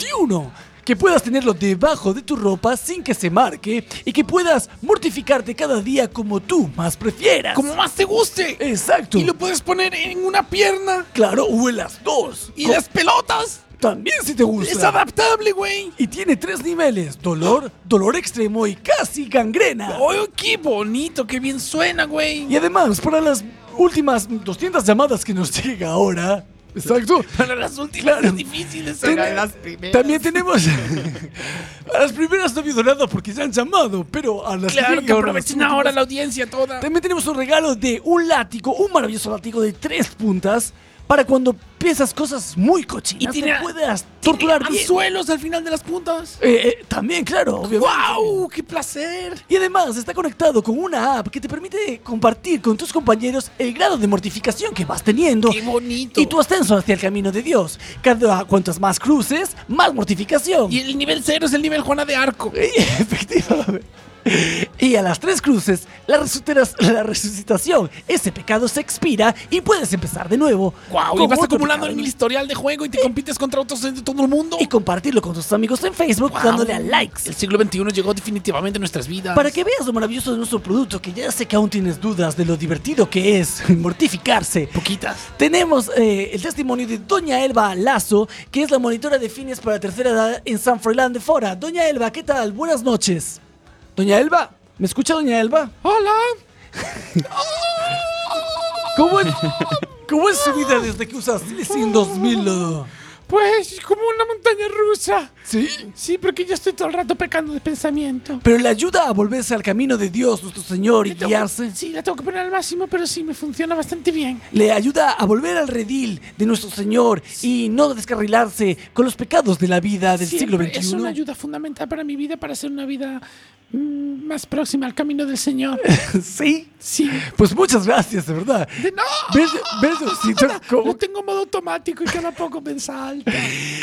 Speaker 1: Que puedas tenerlo debajo de tu ropa sin que se marque y que puedas mortificarte cada día como tú más prefieras.
Speaker 5: Como más te guste.
Speaker 1: Exacto.
Speaker 5: Y lo puedes poner en una pierna.
Speaker 1: Claro, o en las dos.
Speaker 5: Y
Speaker 1: Co-
Speaker 5: las pelotas.
Speaker 1: también si te gusta.
Speaker 5: Es adaptable, güey.
Speaker 1: y tiene tres niveles: dolor, dolor extremo y casi gangrena.
Speaker 5: ¡Oh, qué bonito! ¡Qué bien suena, güey!
Speaker 1: Y además, para las últimas 200 llamadas que nos llega ahora. Exacto.
Speaker 5: Para las últimas
Speaker 1: Claro.
Speaker 5: es difícil
Speaker 1: Ten- También tenemos. a las primeras no ha habido nada porque se han llamado, pero a las que
Speaker 5: Claro, que
Speaker 1: llegan ahora,
Speaker 5: aprovechen
Speaker 1: las
Speaker 5: ahora
Speaker 1: últimas-
Speaker 5: la audiencia toda.
Speaker 1: También tenemos un regalo de un látigo, un maravilloso látigo de tres puntas para cuando piensas cosas muy cochinas
Speaker 5: Y tiene-
Speaker 1: te puedas torturar bien.
Speaker 5: anzuelos al final de las puntas.
Speaker 1: Eh, eh, también, claro, obviamente.
Speaker 5: ¡Wow! ¡Qué placer!
Speaker 1: Y además está conectado con una app que te permite compartir con tus compañeros el grado de mortificación que vas teniendo.
Speaker 5: ¡Qué bonito!
Speaker 1: Y tu ascenso hacia el camino de Dios. Cada cuantas más cruces, más mortificación.
Speaker 5: Y el nivel cero es el nivel Juana de Arco.
Speaker 1: Y- efectivamente. Y a las tres cruces, la, resuteras- la resucitación. Ese pecado se expira y puedes empezar de nuevo.
Speaker 5: ¡Wow! Y
Speaker 1: Con
Speaker 5: vas
Speaker 1: otro
Speaker 5: acumulando
Speaker 1: pecado.
Speaker 5: en el historial de juego y te compites contra otros de todo el mundo.
Speaker 1: Y compartirlo con tus amigos en Facebook
Speaker 5: Guau.
Speaker 1: dándole a likes.
Speaker 5: El siglo XXI llegó definitivamente a nuestras vidas.
Speaker 1: Para que veas lo maravilloso de nuestro producto, que ya sé que aún tienes dudas de lo divertido que es mortificarse.
Speaker 5: Poquitas.
Speaker 1: Tenemos eh, el testimonio de Doña Elba Lazo, que es la monitora de fines para tercera edad en San Froilán de Fora. Doña Elba, ¿qué tal? Buenas noches. Doña Elba, ¿me escucha Doña Elba?
Speaker 5: ¡Hola!
Speaker 1: ¿Cómo es, cómo es su vida desde que usas Sin 2000? Lodo?
Speaker 5: Pues como una montaña rusa.
Speaker 1: Sí.
Speaker 5: Sí, porque yo estoy todo el rato pecando de pensamiento.
Speaker 1: Pero le ayuda a volverse al camino de Dios, nuestro Señor, y
Speaker 5: Le tengo-
Speaker 1: guiarse.
Speaker 5: Sí, la tengo que poner al máximo, pero sí, me funciona bastante bien.
Speaker 1: Le ayuda a volver al redil de nuestro Señor y no descarrilarse con los pecados de la vida del
Speaker 5: Siempre
Speaker 1: siglo
Speaker 5: Es
Speaker 1: XXI.
Speaker 5: una ayuda fundamental para mi vida, para hacer una vida mm, más próxima al camino del Señor.
Speaker 1: sí.
Speaker 5: Sí.
Speaker 1: Pues muchas gracias, de verdad.
Speaker 5: De- ¡No!
Speaker 1: ¿Ves, ves, Diosito, cómo-
Speaker 5: Lo tengo en modo automático y cada poco me salta.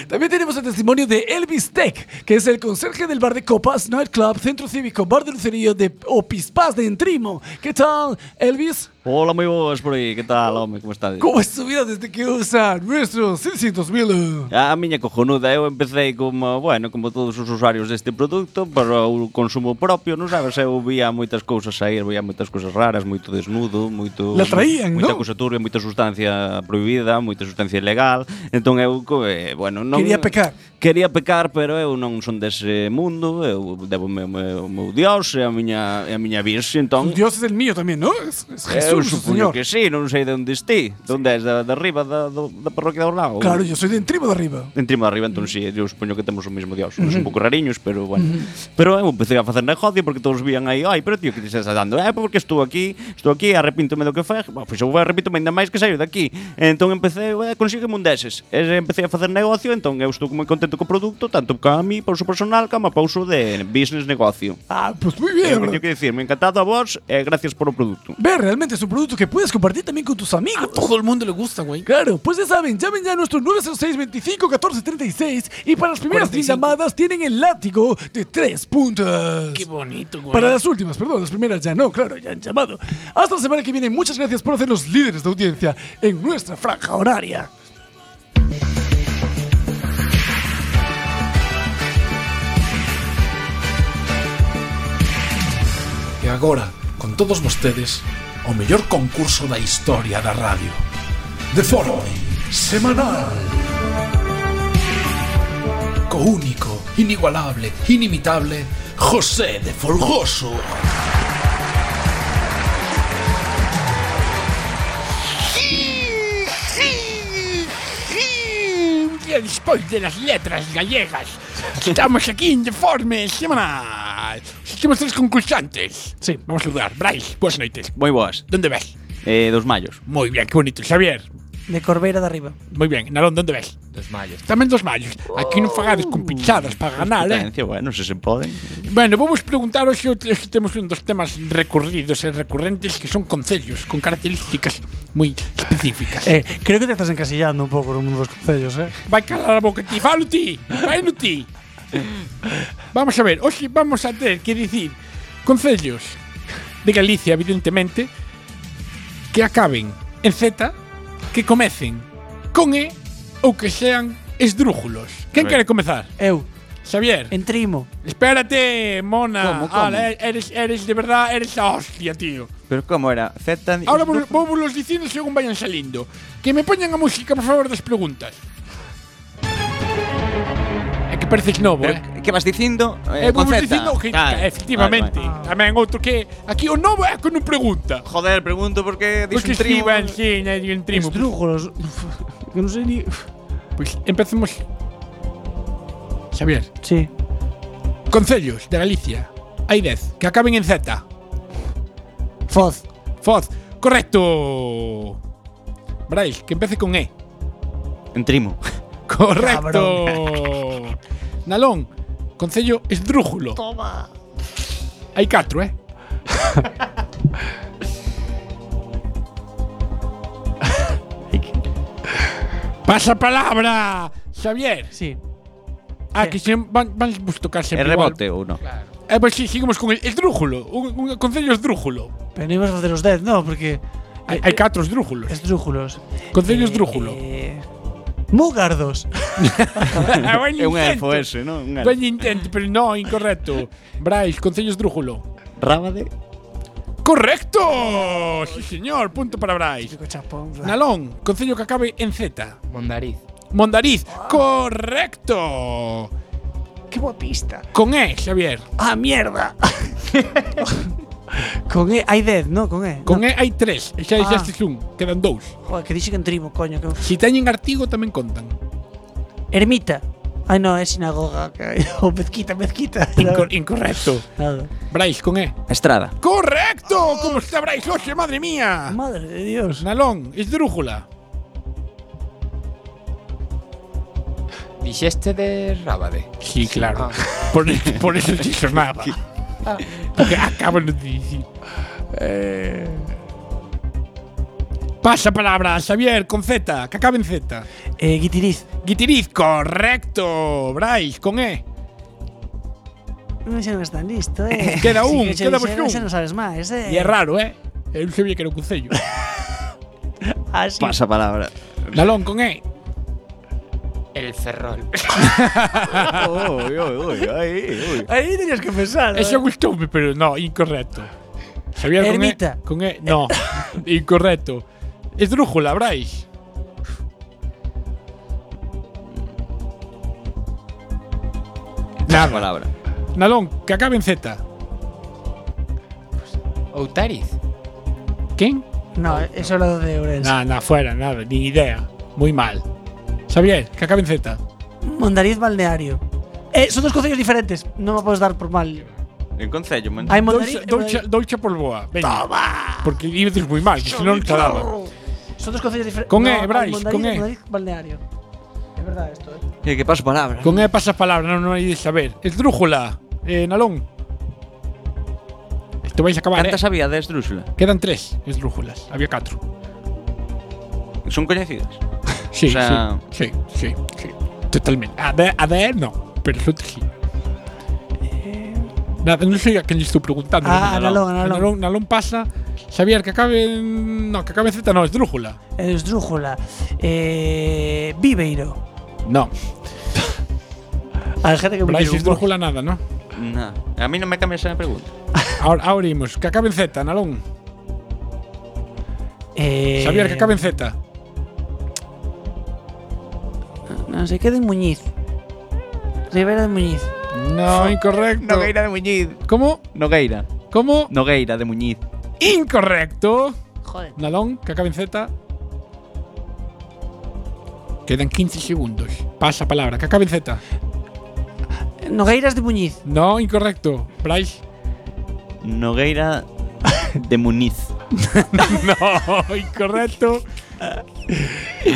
Speaker 1: También tenemos el testimonio de Elvis Tech, que es el conserje del bar de Copas Nightclub, Centro Cívico, Bar de Lucerío de Opispaz de Entrimo. ¿Qué tal, Elvis?
Speaker 9: Hola, moi boas por aí. Que tal, home? Como estades?
Speaker 1: ¿Cómo es tu vida desde que usa nuestros 600 mil?
Speaker 9: A miña cojonuda, eu empecé como, bueno, como todos os usuarios deste produto, para o consumo propio, non sabes, eu vía moitas cousas sair, vía moitas cousas raras, moito desnudo, moito...
Speaker 1: La traían,
Speaker 9: Moita
Speaker 1: non?
Speaker 9: cousa turbia, moita sustancia prohibida, moita sustancia ilegal, entón eu, co- eh, bueno, non...
Speaker 1: Quería pecar.
Speaker 9: Quería pecar, pero eu non son dese mundo, eu debo o meu, meu, meu dios e a miña, e a miña virxe, entón...
Speaker 1: Dios es el mío también, ¿no? Es, es
Speaker 9: eu
Speaker 1: Jesús,
Speaker 9: supoño
Speaker 1: Señor.
Speaker 9: que sí, non sei de onde esti. Donde és? Da, da arriba, da, do- da parroquia do lado?
Speaker 1: Claro, yo soy de Entrimo de arriba.
Speaker 9: En Trima de arriba, entón si, eu supoño que temos o mesmo dios Nos un pouco rariños, pero bueno Pero eu empecé a facer negocio porque todos vían aí Ai, pero tío, que te estás dando? Eh, porque estou aquí, estou aquí, arrepíntome do que fez Pois pues, eu arrepíntome ainda máis que saio daqui Entón empecé, eh, consígueme un deses e, Empecé a facer negocio, entón eu estou moi contento co produto Tanto ca a mí, pauso personal, ca a pauso de business negocio
Speaker 1: Ah, pues muy bien.
Speaker 5: Eh,
Speaker 9: É o que teño que dicir, me encantado a vos e gracias por o produto
Speaker 1: Ver, realmente es un producto que puedes compartir también con tus amigos.
Speaker 5: Todo el mundo le gusta, güey.
Speaker 1: Claro, pues ya saben, llamen ya a nuestro 906 25 14 36 y para las primeras 10
Speaker 5: 45.
Speaker 1: llamadas tienen el látigo de tres puntas.
Speaker 5: Qué bonito, güey.
Speaker 1: Para las últimas, perdón, las primeras ya no, claro, ya han llamado. Hasta la semana que viene, muchas gracias por hacer los líderes de audiencia en nuestra franja horaria.
Speaker 5: E agora, con todos vostedes, o mellor concurso da historia da radio. Deforme, semanal. Co único, inigualable, inimitable, José de Folgoso.
Speaker 6: Día despois de las letras gallegas, estamos aquí en Deforme Semanal. Temos tres concursantes.
Speaker 10: Sí.
Speaker 6: Vamos a saludar. Brais, boas noites.
Speaker 9: Moi boas.
Speaker 6: ¿Dónde ves?
Speaker 9: Eh, dos mallos.
Speaker 6: Muy bien, qué bonito. Xavier,
Speaker 10: De Corbeira de arriba.
Speaker 6: muy bien. Narón, ¿dónde ves?
Speaker 12: Dos mallos.
Speaker 6: Tamén dos mallos. Aquí non fagades con pichadas para ganar, eh?
Speaker 9: Potencia, bueno, se se poden.
Speaker 6: Bueno, vamos preguntar hoxe o- hoxe temos un dos temas recorridos e recurrentes que son concellos con características moi específicas.
Speaker 10: Eh, creo que te estás encasillando un pouco no mundo dos concellos, eh?
Speaker 6: Vai calar a boca ti, falo ti, vai no ti. Vamos a ver, hoxe vamos a ter que dicir concellos de Galicia, evidentemente, que acaben en Z, que comecen con E ou que sean esdrújulos. Quen quere comezar?
Speaker 10: Eu,
Speaker 6: Xavier.
Speaker 10: en Trimo.
Speaker 6: Espérate, mona.
Speaker 9: Como, como?
Speaker 6: Ala, e- eres, eres de verdad, eres la hostia, tío.
Speaker 9: Pero como era? Z...
Speaker 6: Ahora vou vou los diciendo según vayan saliendo. Que me poñan a música, por favor, das preguntas. É que pareces novo,
Speaker 9: Pero,
Speaker 6: eh?
Speaker 9: que Pues, vas dicindo?
Speaker 6: Eh,
Speaker 9: Eh,
Speaker 6: vou
Speaker 9: con Z.
Speaker 6: dicindo que
Speaker 9: Tal.
Speaker 6: efectivamente.
Speaker 9: Vale, vale.
Speaker 6: Tamén outro que aquí o novo é que non pregunta.
Speaker 9: Joder, pregunto por qué dis
Speaker 6: Pois que
Speaker 9: un trigo.
Speaker 6: escriban, sí, né, di un trimo.
Speaker 10: Esdrújulos. Eu non sei ni...
Speaker 6: Pois Pues empecemos. Xavier,
Speaker 10: Sí.
Speaker 6: concellos de Galicia. Hai 10 que acaben en Z.
Speaker 10: Foz.
Speaker 6: Foz, correcto. Brais, que empece con E.
Speaker 9: En trimo.
Speaker 6: Correcto. Nalón, concello esdrújulo. Toma. Hai catro, eh? Pasa palabra, Xavier.
Speaker 10: Sí.
Speaker 6: Ah, que se van, van tocar
Speaker 9: É
Speaker 6: sempre igual.
Speaker 9: rebote ou non?
Speaker 6: Eh, pois si, seguimos con el esdrújulo. Un, un concello esdrújulo.
Speaker 10: Pero non ibas a facer os 10, non, porque...
Speaker 6: Hai, hai catro esdrújulos.
Speaker 10: Esdrújulos.
Speaker 6: Concello esdrújulo.
Speaker 10: Eh, Mugardos.
Speaker 6: Buen
Speaker 9: É un
Speaker 6: intento.
Speaker 9: elfo ese, non? Un elfo.
Speaker 6: Buen intento, pero no, incorrecto. Brais, concello esdrújulo.
Speaker 9: Rábade.
Speaker 6: ¡Correcto! Sí, señor. Punto para Bryce.
Speaker 10: Típico chapón. bla.
Speaker 6: Nalón, concello que acabe en Z.
Speaker 12: Mondariz.
Speaker 6: Mondariz. ¡Correcto!
Speaker 10: ¡Qué guapista!
Speaker 6: Con E, Xavier.
Speaker 10: ¡Ah, mierda! con E, hai 10, non? Con E.
Speaker 6: Con E hai tres. E xa
Speaker 10: Ah.
Speaker 6: dixestes un. Quedan dous.
Speaker 10: Joder, que dixe que en trimo, coño. Que...
Speaker 6: Si teñen artigo, tamén contan.
Speaker 10: Ermita. Ai, non, é sinagoga. que- O mezquita, mezquita.
Speaker 6: Inco- incorrecto.
Speaker 10: Nada.
Speaker 6: Bryce, con E.
Speaker 9: Estrada.
Speaker 6: ¡Correcto! ¿Cómo está Bryce Oxe? ¡Madre mía!
Speaker 10: Madre de
Speaker 6: Pues,
Speaker 10: Dios.
Speaker 6: Nalón, esdrújula.
Speaker 12: Dixeste de Rábade.
Speaker 6: Sí, claro.
Speaker 12: Ah.
Speaker 6: Por, eso- por eso sí sonaba. Porque acaban de decir. Eh. Pasa palabra, Xavier, con Z, que acabe en Z.
Speaker 10: Eh, guitiriz.
Speaker 6: Guitiriz, correcto. Bryce, con E.
Speaker 10: Non sei non están listo, eh.
Speaker 6: Queda un,
Speaker 10: que che
Speaker 6: queda vos
Speaker 10: dixeron,
Speaker 6: un.
Speaker 10: xa non sabes máis, eh.
Speaker 6: Y es raro, ¿eh? El Xavier que era un concello.
Speaker 10: Ah, sí.
Speaker 9: Pasa palabra.
Speaker 6: Nalón, con E.
Speaker 12: El Ferrol.
Speaker 9: Uy, uy, uy, aí, uy.
Speaker 10: Aí tenías que pensar.
Speaker 6: Eso
Speaker 10: Eso
Speaker 6: gustó, pero no, incorrecto. Xavier, con E.
Speaker 10: Ermita.
Speaker 6: Con E, no. incorrecto. Esdrújula, Bryce.
Speaker 9: Pasa palabra.
Speaker 6: Nalón, que acabe en Z.
Speaker 12: Outariz.
Speaker 6: ¿Quién?
Speaker 10: No, eso era de Ourense.
Speaker 6: Nada, nada, fuera, nada, ni idea. Muy mal. Xavier, que acabe en Z.
Speaker 10: Mondariz balneario. Eh, son dos concellos diferentes. Non me podes dar por mal.
Speaker 9: En concello, man.
Speaker 10: Hai
Speaker 6: Dolce,
Speaker 10: Mondariz. e
Speaker 6: Dolce,
Speaker 10: Mondariz.
Speaker 6: Dolce por Boa. Venga. Porque dices muy mal, que si no, no te daba.
Speaker 10: Son dos concellos diferentes.
Speaker 6: Con
Speaker 10: No,
Speaker 6: E,
Speaker 10: hai
Speaker 6: Brais,
Speaker 10: Mondariz
Speaker 6: con
Speaker 10: e
Speaker 6: E.
Speaker 10: Mondariz balneario. É verdade isto, eh.
Speaker 9: Que, que pasa palabra.
Speaker 6: Con E pasas palabra, no, no hay de saber. Esdrújula, eh, Nalón. Esto vais a acabar, eh.
Speaker 9: Cantas había de Esdrúxula?
Speaker 6: Quedan tres esdrújulas. Había cuatro.
Speaker 9: Son coñecidas?
Speaker 6: Sí,
Speaker 9: O sea-
Speaker 6: sí, sí, sí, sí. Totalmente. A ver, a ver, no. Pero eso sí. Eh, Nada, no sé a quién le estoy preguntando. Nalón,
Speaker 10: Ah, Nalón, Nalón.
Speaker 6: Nalón, Nalón pasa. Xavier, que acabe en. No, que acabe en Z, no, esdrújula.
Speaker 10: Esdrújula. Eh, Viveiro.
Speaker 6: No.
Speaker 10: A gente que me
Speaker 6: Bryce,
Speaker 10: dice, "Buah".
Speaker 6: esdrújula nada, ¿no?
Speaker 9: No. A mí non me cambias a pregunta.
Speaker 6: Ahora, ahora imos. Que acabe en Z, Nalón.
Speaker 1: Eh,
Speaker 6: Xavier, que acabe en Z.
Speaker 1: No, se queda en Muñiz. Rivera de Muñiz.
Speaker 6: No, incorrecto.
Speaker 9: Nogueira de Muñiz.
Speaker 6: ¿Cómo?
Speaker 9: Nogueira.
Speaker 6: ¿Cómo?
Speaker 9: Nogueira de Muñiz.
Speaker 6: Incorrecto.
Speaker 1: Joder.
Speaker 6: Nalón, que acabe en Z. Quedan 15 segundos. Pasa palabra, que acabe en Z.
Speaker 1: Nogueiras de Muñiz.
Speaker 6: No, incorrecto. Bryce.
Speaker 9: Nogueira de Muñiz.
Speaker 6: No, incorrecto.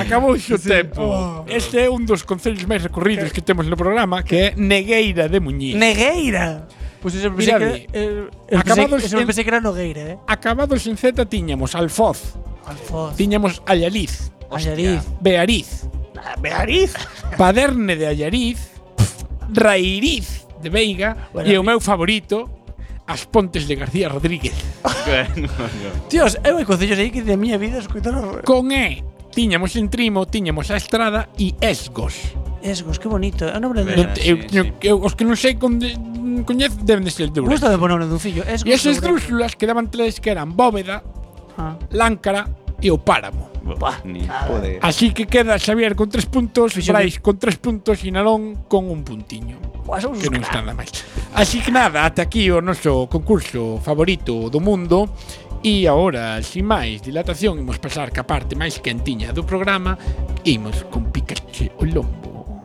Speaker 6: Acabou o seu tempo. Este é un dos concellos máis recorridos que temos no programa, que é Negueira de Muñiz.
Speaker 1: ¡Negueira! Pues eso pensé
Speaker 6: Mira
Speaker 1: que
Speaker 6: bien.
Speaker 1: era, eh, eso
Speaker 6: Acabados
Speaker 1: pensé- eso
Speaker 6: en-
Speaker 1: pensé que era Nogueira, eh.
Speaker 6: Acabados en Z tiñamos Alfoz,
Speaker 1: Alfoz.
Speaker 6: tiñamos Allaliz,
Speaker 1: Ayariz.
Speaker 6: Beariz,
Speaker 1: Beariz.
Speaker 6: Paderne de Allariz, Rairiz de Veiga e o meu favorito, As Pontes de García Rodríguez.
Speaker 1: Tíos, eh, eu hai concellos aí que de miña vida escoitaron
Speaker 6: Con E tiñamos en Trimo, tiñamos a Estrada e Esgos.
Speaker 1: Esgos, que bonito. É o nome de... Me
Speaker 9: Verdad. Ah,
Speaker 6: Eu,
Speaker 9: sí,
Speaker 6: eu,
Speaker 9: sí.
Speaker 6: eu, os que non sei conde- coñez deben de ser de Ourense.
Speaker 1: gusta de poner nome dun fillo. Esgos.
Speaker 6: E esas
Speaker 1: Ourense.
Speaker 6: drúxulas quedaban tres que eran Bóveda,
Speaker 1: Ah.
Speaker 6: Láncara e o Páramo.
Speaker 9: Ni poder.
Speaker 6: Así que queda Xavier con tres puntos,
Speaker 1: Fixo
Speaker 6: Brais con tres puntos e Nalón con un puntiño.
Speaker 1: Buah, somos
Speaker 6: Que
Speaker 1: uns
Speaker 6: non
Speaker 1: crack.
Speaker 6: está nada máis. Así que nada, ata aquí o noso concurso favorito do mundo. E agora, sin máis dilatación, imos pasar ca parte máis quentiña do programa. Imos con Pikachu o Lombo.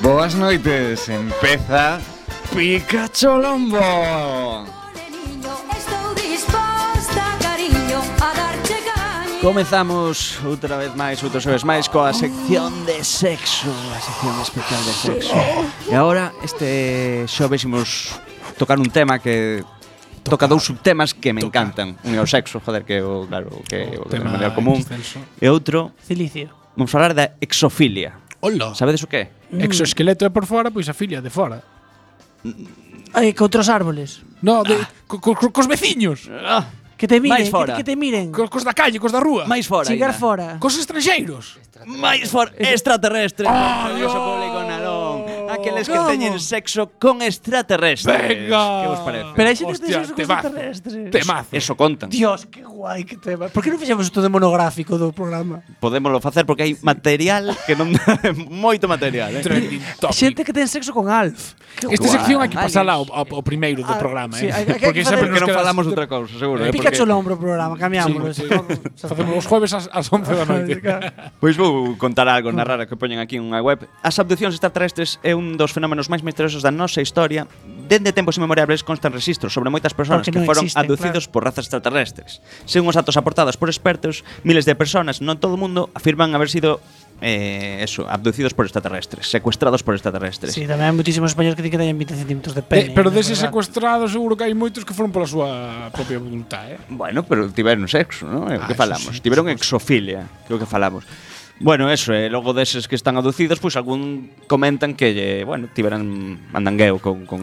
Speaker 3: Boas noites, empeza Pikachu Lombo.
Speaker 9: Comezamos outra vez máis, outros xoves máis coa sección de sexo, a sección especial de sexo. E agora este xoves imos tocar un tema que toca dous subtemas que me encantan. Un é o sexo, joder, que é o claro, o que é o tema
Speaker 6: Tema
Speaker 9: mundial común.
Speaker 6: extenso.
Speaker 9: E outro,
Speaker 1: Cilicio.
Speaker 9: vamos falar da exofilia.
Speaker 6: Hola.
Speaker 9: Sabedes o que? é?
Speaker 1: Mm.
Speaker 6: Exoesqueleto é por fora, pois a filia é de fora.
Speaker 1: Ai, que Eh, outros árboles. Ah.
Speaker 6: No, de, co- co- co- cos veciños,
Speaker 1: Que te miren,
Speaker 9: Máis fora.
Speaker 1: Que, que te miren.
Speaker 6: co- cos da calle, cos da rúa.
Speaker 9: Máis fora.
Speaker 1: Chegar
Speaker 9: Ina.
Speaker 1: fora.
Speaker 6: Cos estranxeiros.
Speaker 9: Máis for extraterrestre.
Speaker 6: Ah,
Speaker 9: Famoso
Speaker 6: Dios.
Speaker 9: público nalón. Aqueles que
Speaker 1: ¿Cómo?
Speaker 9: teñen sexo con extraterrestres.
Speaker 6: Venga.
Speaker 9: Que vos parece?
Speaker 1: Pero hai xente que
Speaker 6: Hostia,
Speaker 1: ten sexo con
Speaker 6: temazo.
Speaker 1: extraterrestres.
Speaker 6: Temazo.
Speaker 9: Eso contan.
Speaker 1: Dios, que guai que tema. Por que non fixemos isto de monográfico do programa?
Speaker 9: Podémoslo facer porque hai material que non moito material, eh.
Speaker 6: Trending topic.
Speaker 1: Xente que ten sexo con Alf. Que
Speaker 6: Esta
Speaker 1: guai.
Speaker 6: sección hai que
Speaker 9: Aliens.
Speaker 6: pasala ao, ao, ao primeiro do
Speaker 1: Ah,
Speaker 6: programa,
Speaker 1: sí,
Speaker 6: eh.
Speaker 1: hai- hai que
Speaker 6: porque
Speaker 1: facer-
Speaker 6: sempre nos
Speaker 9: Porque non
Speaker 6: quedas-
Speaker 9: falamos outra cousa, seguro. eh,
Speaker 1: Pikachu
Speaker 9: porque-
Speaker 1: lombro o programa, cambiámoslo.
Speaker 6: Sí,
Speaker 1: Sí,
Speaker 6: Facemos os jueves ás, ás 11 da noite.
Speaker 9: Pois vou contar algo
Speaker 1: Mm.
Speaker 9: na rara que poñen aquí nunha web. As abduccións extraterrestres é un dos fenómenos máis misteriosos da nosa historia. Dende tempos inmemorables constan registros sobre moitas persoas
Speaker 1: Porque
Speaker 9: que
Speaker 1: non
Speaker 9: foron
Speaker 1: existen,
Speaker 9: abducidos por razas extraterrestres. Según os datos aportados por expertos, miles de personas, non todo o mundo, afirman haber sido eh, eso, abducidos por extraterrestres, secuestrados por extraterrestres.
Speaker 1: sí, tamén hai moitísimos españoles que ti que teñen 20 centímetros de
Speaker 6: Eh,
Speaker 1: pene.
Speaker 6: pero
Speaker 1: na
Speaker 6: deses
Speaker 1: verdad.
Speaker 6: secuestrados seguro que hai moitos que foron pola súa propia voluntad, eh.
Speaker 9: Bueno, pero tiveron sexo, non? É o
Speaker 6: Ah,
Speaker 9: que
Speaker 6: eso
Speaker 9: falamos.
Speaker 6: sí,
Speaker 9: tiveron exofilia, creo que falamos. Bueno, eso, e logo deses que están aducidos, pois algún comentan que, lle, bueno, tiveran andangueo con, con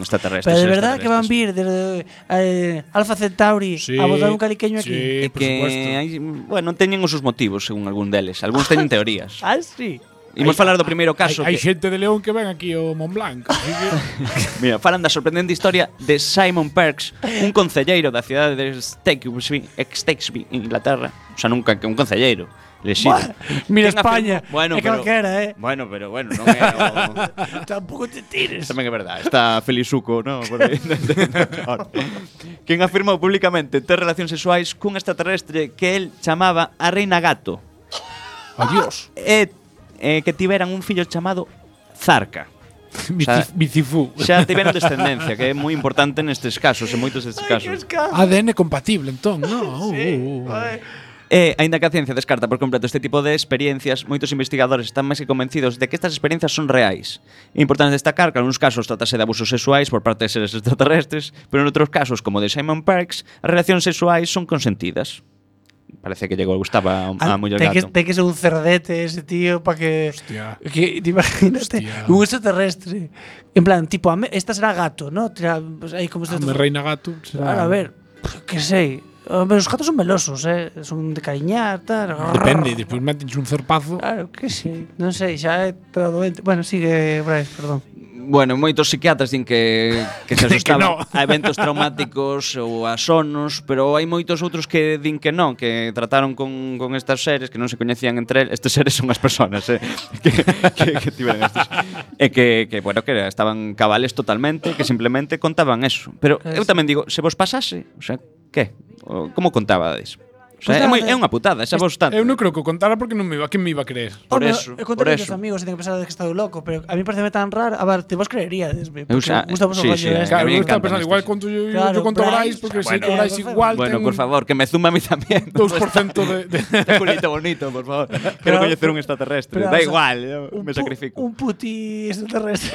Speaker 1: Pero
Speaker 9: extraterrestres.
Speaker 1: de verdad que van vir
Speaker 9: extraterrestres.
Speaker 1: desde eh, Alfa Centauri a
Speaker 5: Ah,
Speaker 1: botar un caliqueño
Speaker 6: sí,
Speaker 1: aquí.
Speaker 6: Sí, por
Speaker 9: E que
Speaker 6: supuesto.
Speaker 9: hai, bueno, teñen os seus motivos, según algún deles. Algúns teñen teorías.
Speaker 1: Ah, sí.
Speaker 9: Imos falar do primeiro caso.
Speaker 6: Hai, hai
Speaker 9: que,
Speaker 6: xente de León que ven aquí ao Mont Blanc. así que-
Speaker 9: mira, falan da sorprendente historia de Simon Perks, un concelleiro da cidade de Stexby, Stexby, Inglaterra. O sea, nunca que un concelleiro. Lexido.
Speaker 1: Mira
Speaker 9: Ten afirma-
Speaker 1: España, é calquera, eh.
Speaker 9: Bueno, pero bueno, non é o...
Speaker 1: Tampouco te tires.
Speaker 9: Tamén é verdade, está Felizuco, non? Por aí. Quen afirmou públicamente ter relacións sexuais cun extraterrestre que el chamaba a Reina Gato
Speaker 6: Adiós.
Speaker 9: e eh, que tiveran un fillo chamado Zarca.
Speaker 6: Bicif- Bicifú.
Speaker 9: Xa tiveron descendencia, que é moi importante nestes casos, en moitos destes casos.
Speaker 6: ADN compatible, entón, no. Uh, uh, uh.
Speaker 9: E, aínda que a ciencia descarta por completo este tipo de experiencias, moitos investigadores están máis que convencidos de que estas experiencias son reais. É importante destacar que en algúns casos tratase de abusos sexuais por parte de seres extraterrestres, pero en outros casos, como o de Simon Parks, as relacións sexuais son consentidas. Parece que llegou Gustavo a, a
Speaker 5: Ah,
Speaker 9: muller
Speaker 5: ten que,
Speaker 9: gato.
Speaker 5: ten que ser un cerdete ese tío para que,
Speaker 6: Hostia.
Speaker 5: que- te Imagínate,
Speaker 6: Hostia.
Speaker 5: un extraterrestre. En plan, tipo, ame- esta será gato, ¿no? Tira, pues, ahí como
Speaker 6: Me reina gato.
Speaker 5: Ahora, a
Speaker 6: será-
Speaker 5: ver, qué sé. Hombre, Los gatos son melosos, ¿eh? Son de cariñar, tal.
Speaker 6: Depende, después me metes un zarpazo.
Speaker 5: Claro, que sí. Non sei, xa é todo ente- Bueno, sigue, Brais, perdón.
Speaker 9: Bueno, moitos psiquiatras din que, que se
Speaker 6: Din que no.
Speaker 9: asustaban a eventos traumáticos ou a sonos, pero hai moitos outros que din que non, que trataron con, con estas seres que non se coñecían entre eles. Estes seres son as personas, eh, que, que, que tiveron estes. E que, que, bueno, que estaban cabales totalmente, que simplemente contaban eso. Pero eu tamén digo, se vos pasase, o sea, que? O, como contabades? O sea,
Speaker 5: Pues
Speaker 9: é, moi,
Speaker 5: nada.
Speaker 9: é unha putada, esa vos tanto.
Speaker 6: Eu non creo que o contara porque non me iba, quen me iba a creer?
Speaker 9: Por
Speaker 5: Home,
Speaker 9: eso,
Speaker 5: eu
Speaker 9: por
Speaker 5: contei a meus
Speaker 9: eso.
Speaker 5: amigos e ten que pensar que estou loco, pero a mí pareceme tan raro. A ver, te vos creeríades, me,
Speaker 9: Eu
Speaker 5: porque
Speaker 9: xa-
Speaker 5: gusta vos o
Speaker 9: sí,
Speaker 5: rollo
Speaker 9: sí,
Speaker 5: este.
Speaker 9: a
Speaker 6: Claro,
Speaker 9: mí
Speaker 6: eu
Speaker 9: me
Speaker 6: estaba
Speaker 9: encantan
Speaker 6: pensando,
Speaker 9: estes.
Speaker 6: igual conto yo,
Speaker 5: Claro,
Speaker 6: yo conto a Brais,
Speaker 5: Brais,
Speaker 6: porque
Speaker 5: bueno.
Speaker 6: sei que Brais
Speaker 5: Eh, por
Speaker 6: igual
Speaker 9: Bueno,
Speaker 6: ten
Speaker 9: por favor, que me zumba a mí tamén.
Speaker 6: 2% de, de-
Speaker 9: Este culito bonito, por favor. Quiero conocer un extraterrestre.
Speaker 5: pero, o
Speaker 9: da
Speaker 5: sea,
Speaker 9: igual, yo
Speaker 5: Un pu-
Speaker 9: me sacrifico.
Speaker 5: Un puti extraterrestre.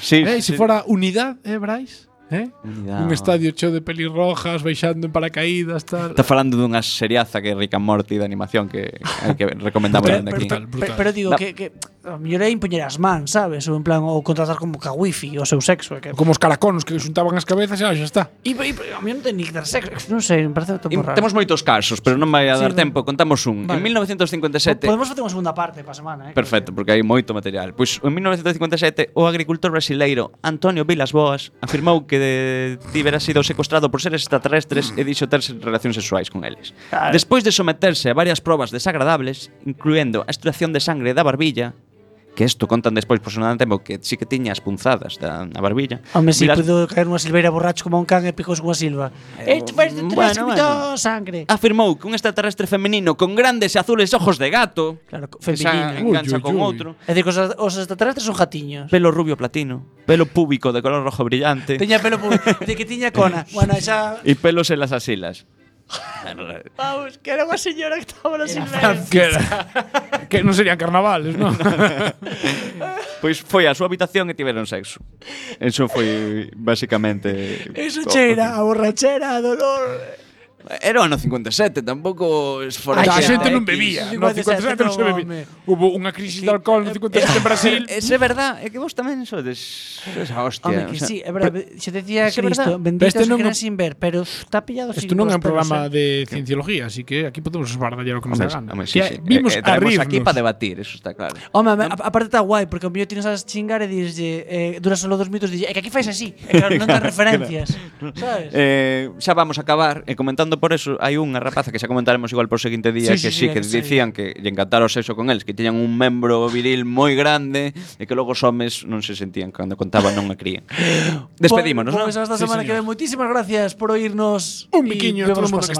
Speaker 9: sí,
Speaker 6: Eh, se fora unidad, eh, Brais? Eh?
Speaker 9: Unidade.
Speaker 6: Un estadio cheo de pelirrojas, baixando en paracaídas, tal.
Speaker 9: Está falando dunha seriaza que é Rick and Morty de animación que, eh, que recomendamos
Speaker 5: Pero, pero,
Speaker 9: dende aquí.
Speaker 6: brutal,
Speaker 5: pero,
Speaker 6: brutal.
Speaker 5: pero digo
Speaker 9: No.
Speaker 5: que, que a mellor é impoñer as mans, sabes? Ou en plan, ou contratar como que a wifi o seu sexo. é Que,
Speaker 6: Como os caraconos que xuntaban as cabezas, xa, xa está.
Speaker 5: e, e, a mí non ten ni que dar sexo. Non sei, me parece todo
Speaker 9: Im-
Speaker 5: raro.
Speaker 9: Temos moitos casos, pero non vai
Speaker 5: Sí,
Speaker 9: a dar
Speaker 5: vale.
Speaker 9: tempo. Contamos un.
Speaker 5: Vale.
Speaker 9: En 1957
Speaker 5: Podemos facer unha segunda parte para semana, eh?
Speaker 9: Perfecto, porque hai moito material. Pois en 1957 o agricultor brasileiro Antonio Vilas Boas afirmou que de, tivera sido secuestrado por seres extraterrestres e dixo ter relacións sexuais con eles. Despois de someterse a varias probas desagradables, incluendo a extracción de sangre da barbilla, que isto contan despois por sonar tempo que sí que tiña as punzadas da, na barbilla.
Speaker 5: Home, si
Speaker 9: Vilas-
Speaker 5: pudo caer unha silveira borracho como un can e picos unha silva.
Speaker 9: Eh,
Speaker 5: Eh, pues,
Speaker 9: bueno,
Speaker 5: bueno,
Speaker 9: bueno.
Speaker 5: bueno. sangre.
Speaker 9: afirmou que un extraterrestre femenino con grandes e azules ojos de gato
Speaker 5: Claro,
Speaker 9: que se
Speaker 5: femenino.
Speaker 6: Uy,
Speaker 9: engancha
Speaker 6: uy,
Speaker 9: con
Speaker 6: uy.
Speaker 9: outro
Speaker 5: É dicir, que os, os extraterrestres son jatiños.
Speaker 9: pelo rubio platino, pelo púbico de color rojo brillante
Speaker 5: Teña pelo pu- de que tiña cona. Bueno, xa...
Speaker 9: y pelos en las asilas.
Speaker 5: Vamos, que era unha señora que estaba na silveira.
Speaker 6: que, era- que non serían carnavales, non?
Speaker 9: Pois foi á súa habitación e tiveron sexo. Eso foi basicamente
Speaker 5: Eso cheira a borrachera, a dolor.
Speaker 9: Era o ano 57, tampouco es fora
Speaker 5: Ai,
Speaker 6: a
Speaker 5: Ay,
Speaker 6: xente
Speaker 5: xa,
Speaker 6: non
Speaker 5: X,
Speaker 6: bebía. No
Speaker 5: 57
Speaker 6: 57 non se
Speaker 5: non,
Speaker 6: bebía.
Speaker 5: home.
Speaker 6: Hubo unha crisis de alcohol no 57 en Brasil.
Speaker 9: Ese é verdad, é que vos tamén sodes esa hostia.
Speaker 5: Home, que sí, é verdade. Se decía
Speaker 9: Sí, verdad.
Speaker 5: Cristo,
Speaker 6: Pero
Speaker 5: bendito
Speaker 6: este
Speaker 5: se
Speaker 6: non
Speaker 5: quedan
Speaker 6: é-
Speaker 5: sin ver, pero está pillado sin eh.
Speaker 6: Isto non é un programa de cienciología, así que aquí podemos esbardallar o que nos
Speaker 9: Home,
Speaker 6: da gana.
Speaker 9: home, sí,
Speaker 6: Que
Speaker 9: sí.
Speaker 6: Vimos
Speaker 9: Eh, eh,
Speaker 6: a
Speaker 9: traemos aquí
Speaker 6: rirnos.
Speaker 9: para debatir, eso está claro.
Speaker 5: Home, a- a- aparte está guai, porque o mellor tienes a chingar e dixlle, eh, dura solo dos minutos, dixlle, é que aquí fais así, e claro, non das referencias, sabes?
Speaker 9: Eh, xa vamos a acabar e comentando por eso hai unha rapaza que xa comentaremos igual por seguinte día
Speaker 5: Sí,
Speaker 9: que
Speaker 5: sí,
Speaker 9: sí,
Speaker 5: sí,
Speaker 9: que
Speaker 5: en serio.
Speaker 9: dicían que lle encantara o sexo con eles que tiñan un membro viril moi grande e que logo os homes non se sentían cando contaban non a crían despedímonos,
Speaker 5: Pois
Speaker 9: non?
Speaker 5: hasta a
Speaker 6: Sí,
Speaker 5: semana que
Speaker 6: señor.
Speaker 5: ven. Moitísimas gracias por oírnos.
Speaker 6: Un
Speaker 5: e
Speaker 6: biquiño a todo o
Speaker 5: vémonos pola
Speaker 6: mundo que
Speaker 5: semana.